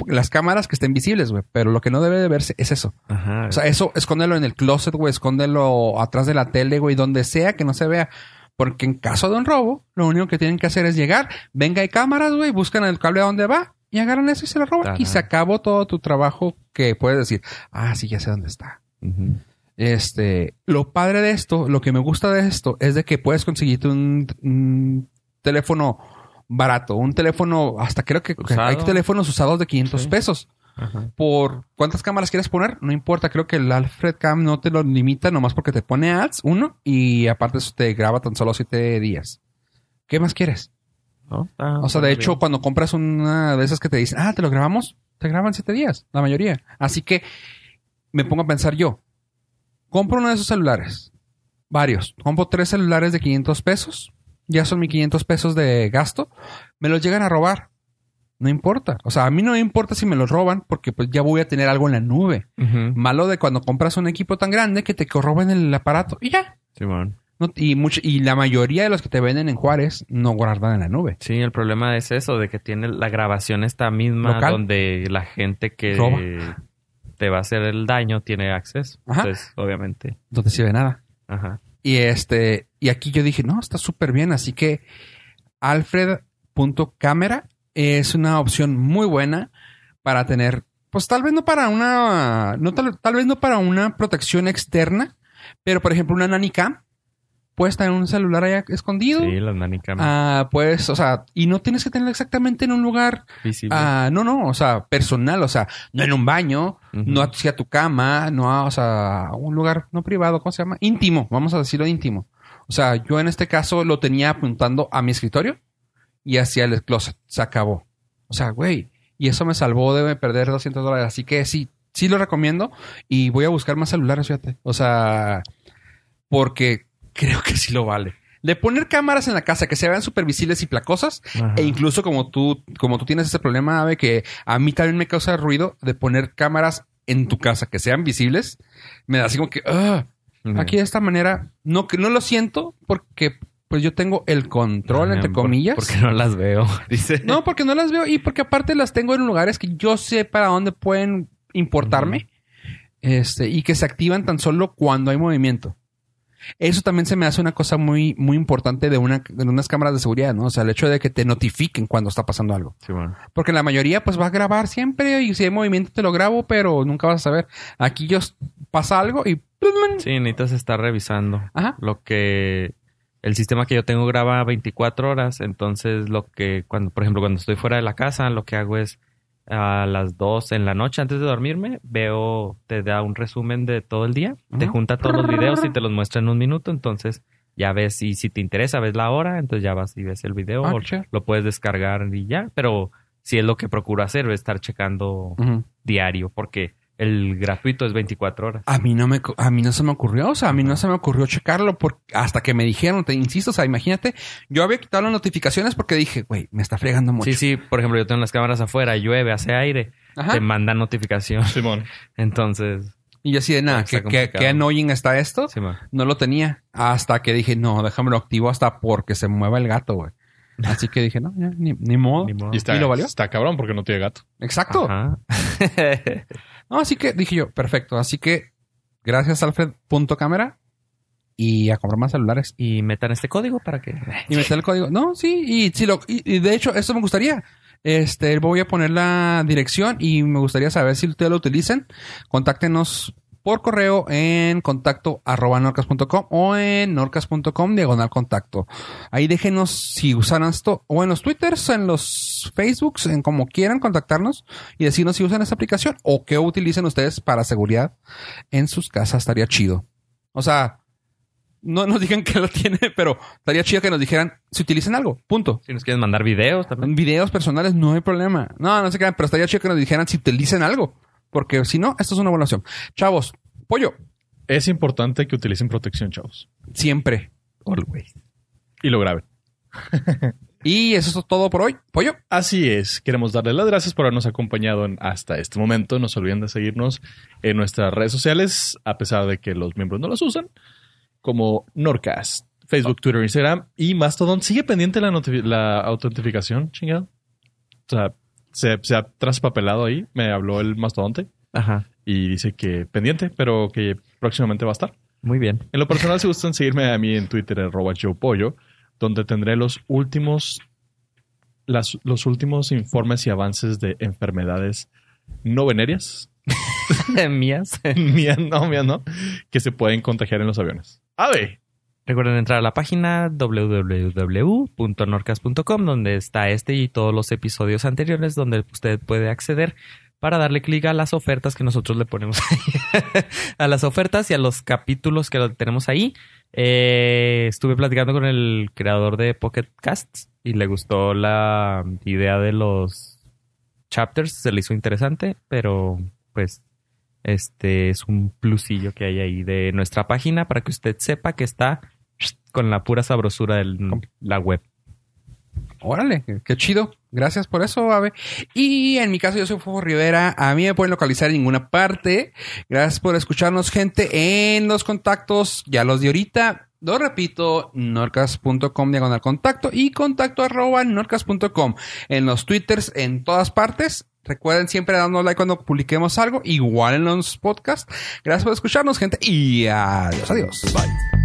[SPEAKER 2] las cámaras que estén visibles, güey. Pero lo que no debe de verse es eso.
[SPEAKER 4] Ajá.
[SPEAKER 2] O sea, eso, escóndelo en el closet, güey, escóndelo atrás de la tele, güey, donde sea que no se vea. Porque en caso de un robo, lo único que tienen que hacer es llegar, venga, hay cámaras, güey, buscan el cable a donde va y agarran eso y se lo roban.
[SPEAKER 4] Ajá.
[SPEAKER 2] Y se acabó todo tu trabajo que puedes decir, ah, sí, ya sé dónde está.
[SPEAKER 4] Ujú.
[SPEAKER 2] Este, lo padre de esto, lo que me gusta de esto, es de que puedes conseguirte un, un teléfono barato, un teléfono, hasta creo que
[SPEAKER 4] Usado.
[SPEAKER 2] hay teléfonos usados de 500
[SPEAKER 4] Sí.
[SPEAKER 2] pesos
[SPEAKER 4] Ajá.
[SPEAKER 2] por cuántas cámaras quieres poner, no importa. Creo que el Alfred Cam no te lo limita nomás porque te pone ads, uno, y aparte eso te graba tan solo siete días. ¿Qué más quieres?
[SPEAKER 4] No, Ah, está-
[SPEAKER 2] O sea,
[SPEAKER 4] está
[SPEAKER 2] de hecho,
[SPEAKER 4] bien.
[SPEAKER 2] cuando compras una de esas que te dicen, ah, te lo grabamos, te graban siete días, la mayoría. Así que me pongo a pensar yo, compro uno de esos celulares, varios, compro tres celulares de 500 pesos, ya son mis 500 pesos de gasto, me los llegan a robar. No importa. O sea, a mí no me importa si me los roban porque pues ya voy a tener algo en la nube.
[SPEAKER 4] Ujú.
[SPEAKER 2] Malo de cuando compras un equipo tan grande que te corroben el aparato y ya.
[SPEAKER 4] Simón.
[SPEAKER 2] No- y, mucho, y la mayoría de los que te venden en Juárez no guardan en la nube.
[SPEAKER 4] Sí, el problema es eso, de que tiene la grabación esta misma
[SPEAKER 2] Local.
[SPEAKER 4] donde la gente que
[SPEAKER 2] Roba.
[SPEAKER 4] te va a hacer el daño tiene acceso.
[SPEAKER 2] Ajá.
[SPEAKER 4] Entonces, obviamente.
[SPEAKER 2] No te sirve nada.
[SPEAKER 4] Ajá.
[SPEAKER 2] Y este, y aquí yo dije, no, está súper bien. Así que Alfred.cámara es una opción muy buena para tener, pues tal vez no para una, no tal, tal vez no para una protección externa, pero por ejemplo una nanicam, puedes tener un celular allá escondido.
[SPEAKER 4] Sí, las manicamas
[SPEAKER 2] Ah, pues, o sea, y no tienes que tenerlo exactamente en un lugar,
[SPEAKER 4] visibles.
[SPEAKER 2] ah, no, no, o sea, personal, o sea, no en un baño,
[SPEAKER 4] Ujú.
[SPEAKER 2] no hacia tu cama, no a, o sea, a un lugar no privado, ¿cómo se llama? Íntimo, vamos a decirlo íntimo. O sea, yo en este caso lo tenía apuntando a mi escritorio y hacia el closet. Se acabó. O sea, güey. Y eso me salvó de perder 200 dólares. Así que sí, sí lo recomiendo. Y voy a buscar más celulares, fíjate. O sea, porque creo que sí lo vale. De poner cámaras en la casa que se vean supervisibles y placosas,
[SPEAKER 4] Ajá.
[SPEAKER 2] e incluso como tú, como tú tienes ese problema, Ave, que a mí también me causa ruido de poner cámaras en tu casa que sean visibles, me da así como que, "Ah".
[SPEAKER 4] Ujú.
[SPEAKER 2] aquí de esta manera, no, que no lo siento porque pues yo tengo el control,
[SPEAKER 4] Ajá,
[SPEAKER 2] entre
[SPEAKER 4] por-
[SPEAKER 2] comillas.
[SPEAKER 4] Porque no las veo, dice.
[SPEAKER 2] No, porque no las veo y porque aparte las tengo en lugares que yo sé para dónde pueden importarme este, y que se activan tan solo cuando hay movimiento. Eso también se me hace una cosa muy, muy importante de, una, de unas cámaras de seguridad, ¿no? O sea, el hecho de que te notifiquen cuando está pasando algo.
[SPEAKER 4] Simón.
[SPEAKER 2] Porque la mayoría pues va a grabar siempre y si hay movimiento te lo grabo, pero nunca vas a saber. Aquí yo s- pasa algo y... pues,
[SPEAKER 4] Sí, necesitas estar revisando.
[SPEAKER 2] Ajá.
[SPEAKER 4] Lo que el sistema que yo tengo graba 24 horas, entonces lo que cuando por ejemplo cuando estoy fuera de la casa, lo que hago es a las 2 en la noche antes de dormirme, veo te da un resumen de todo el día, te
[SPEAKER 2] Ujú.
[SPEAKER 4] junta todos los videos y te los muestra en un minuto, entonces ya ves y si te interesa ves la hora, entonces ya vas y ves el video,
[SPEAKER 2] Ah,
[SPEAKER 4] o
[SPEAKER 2] qué chido.
[SPEAKER 4] lo puedes descargar y ya, pero si es lo que procuro hacer, estar checando
[SPEAKER 2] Ujú.
[SPEAKER 4] diario porque el gratuito es 24 horas.
[SPEAKER 2] A mí no me, co- a mí no se me ocurrió, o sea, a mí no se me ocurrió checarlo por, hasta que me dijeron, te insisto, o sea, imagínate, yo había quitado las notificaciones porque dije, güey, me está fregando mucho.
[SPEAKER 4] Sí, sí, por ejemplo, yo tengo las cámaras afuera, llueve, hace aire,
[SPEAKER 2] Ajá.
[SPEAKER 4] te mandan notificación.
[SPEAKER 3] Simón.
[SPEAKER 4] Entonces,
[SPEAKER 2] Y yo así de nada,
[SPEAKER 4] Está
[SPEAKER 2] que, que,
[SPEAKER 4] complicado.
[SPEAKER 2] annoying está esto.
[SPEAKER 4] sí, ma.
[SPEAKER 2] No lo tenía. Hasta que dije, no, déjamelo activo hasta porque se mueva el gato, güey. Así que dije, no, ya, ni, ni modo.
[SPEAKER 4] Ni modo.
[SPEAKER 3] Y está,
[SPEAKER 2] ¿Y lo valió?
[SPEAKER 3] está cabrón porque no tiene gato.
[SPEAKER 2] Exacto.
[SPEAKER 4] Ajá.
[SPEAKER 2] No, así que dije yo, perfecto. Así que gracias, Alfred. Punto cámara. Y a comprar más celulares.
[SPEAKER 4] Y metan este código para que.
[SPEAKER 2] Y meter el código. No, sí. Y, sí lo, y, y de hecho, esto me gustaría. Este, voy a poner la dirección y me gustaría saber si ustedes lo utilizan. Contáctenos por correo en contacto arroba norcas.com o en norcas.com diagonal contacto. Ahí déjenos si usan esto o en los twitters, en los facebooks, en como quieran contactarnos y decirnos si usan esta aplicación o qué utilizan ustedes para seguridad en sus casas. Estaría chido. O sea, no nos digan que lo tiene, pero estaría chido que nos dijeran si utilizan algo. Punto.
[SPEAKER 4] Si nos quieren mandar videos también.
[SPEAKER 2] Videos personales no hay problema. No, no se crean, pero estaría chido que nos dijeran si utilizan algo. Porque si no, esto es una buena opción. Chavos, pollo,
[SPEAKER 3] Es importante que utilicen protección, chavos.
[SPEAKER 2] siempre.
[SPEAKER 4] Always.
[SPEAKER 3] Y lo graben.
[SPEAKER 2] Y eso es todo por hoy. Pollo,
[SPEAKER 3] Así es, queremos darle las gracias por habernos acompañado en- hasta este momento. No se olviden de seguirnos en nuestras redes sociales, a pesar de que los miembros no las usan, como Norcast, Facebook, Twitter, Instagram y Mastodon. ¿Sigue pendiente la, notifi- la autentificación, chingado? O sea, se, se ha traspapelado ahí, me habló el mastodonte
[SPEAKER 4] Ajá.
[SPEAKER 3] y dice que pendiente, pero que próximamente va a estar.
[SPEAKER 4] Muy bien.
[SPEAKER 3] En lo personal, si gustan seguirme a mí en Twitter, arroba yo pollo, donde tendré los últimos, las- los últimos informes y avances de enfermedades no venéreas.
[SPEAKER 4] Mías.
[SPEAKER 3] Mía, no, mía, no. Que se pueden contagiar en los aviones. ¡Ave!
[SPEAKER 4] Recuerden entrar a la página www.norcas.com donde está este y todos los episodios anteriores donde usted puede acceder para darle clic a las ofertas que nosotros le ponemos ahí. a las ofertas y a los capítulos que tenemos ahí. Eh, estuve platicando con el creador de Pocket Casts y le gustó la idea de los chapters, se le hizo interesante, pero pues este es un plusillo que hay ahí de nuestra página para que usted sepa que está con la pura sabrosura de la web.
[SPEAKER 2] órale, qué chido. Gracias por eso, Ave. Y en mi caso, yo soy Fofo Rivera. A mí me pueden localizar en ninguna parte. Gracias por escucharnos, gente, en los contactos. Ya los di ahorita. Lo repito, norcas.com diagonal contacto y contacto arroba norcas.com. En los twitters, en todas partes. Recuerden siempre darnos like cuando publiquemos algo, igual en los podcasts. Gracias por escucharnos, gente, y adiós, adiós. Bye.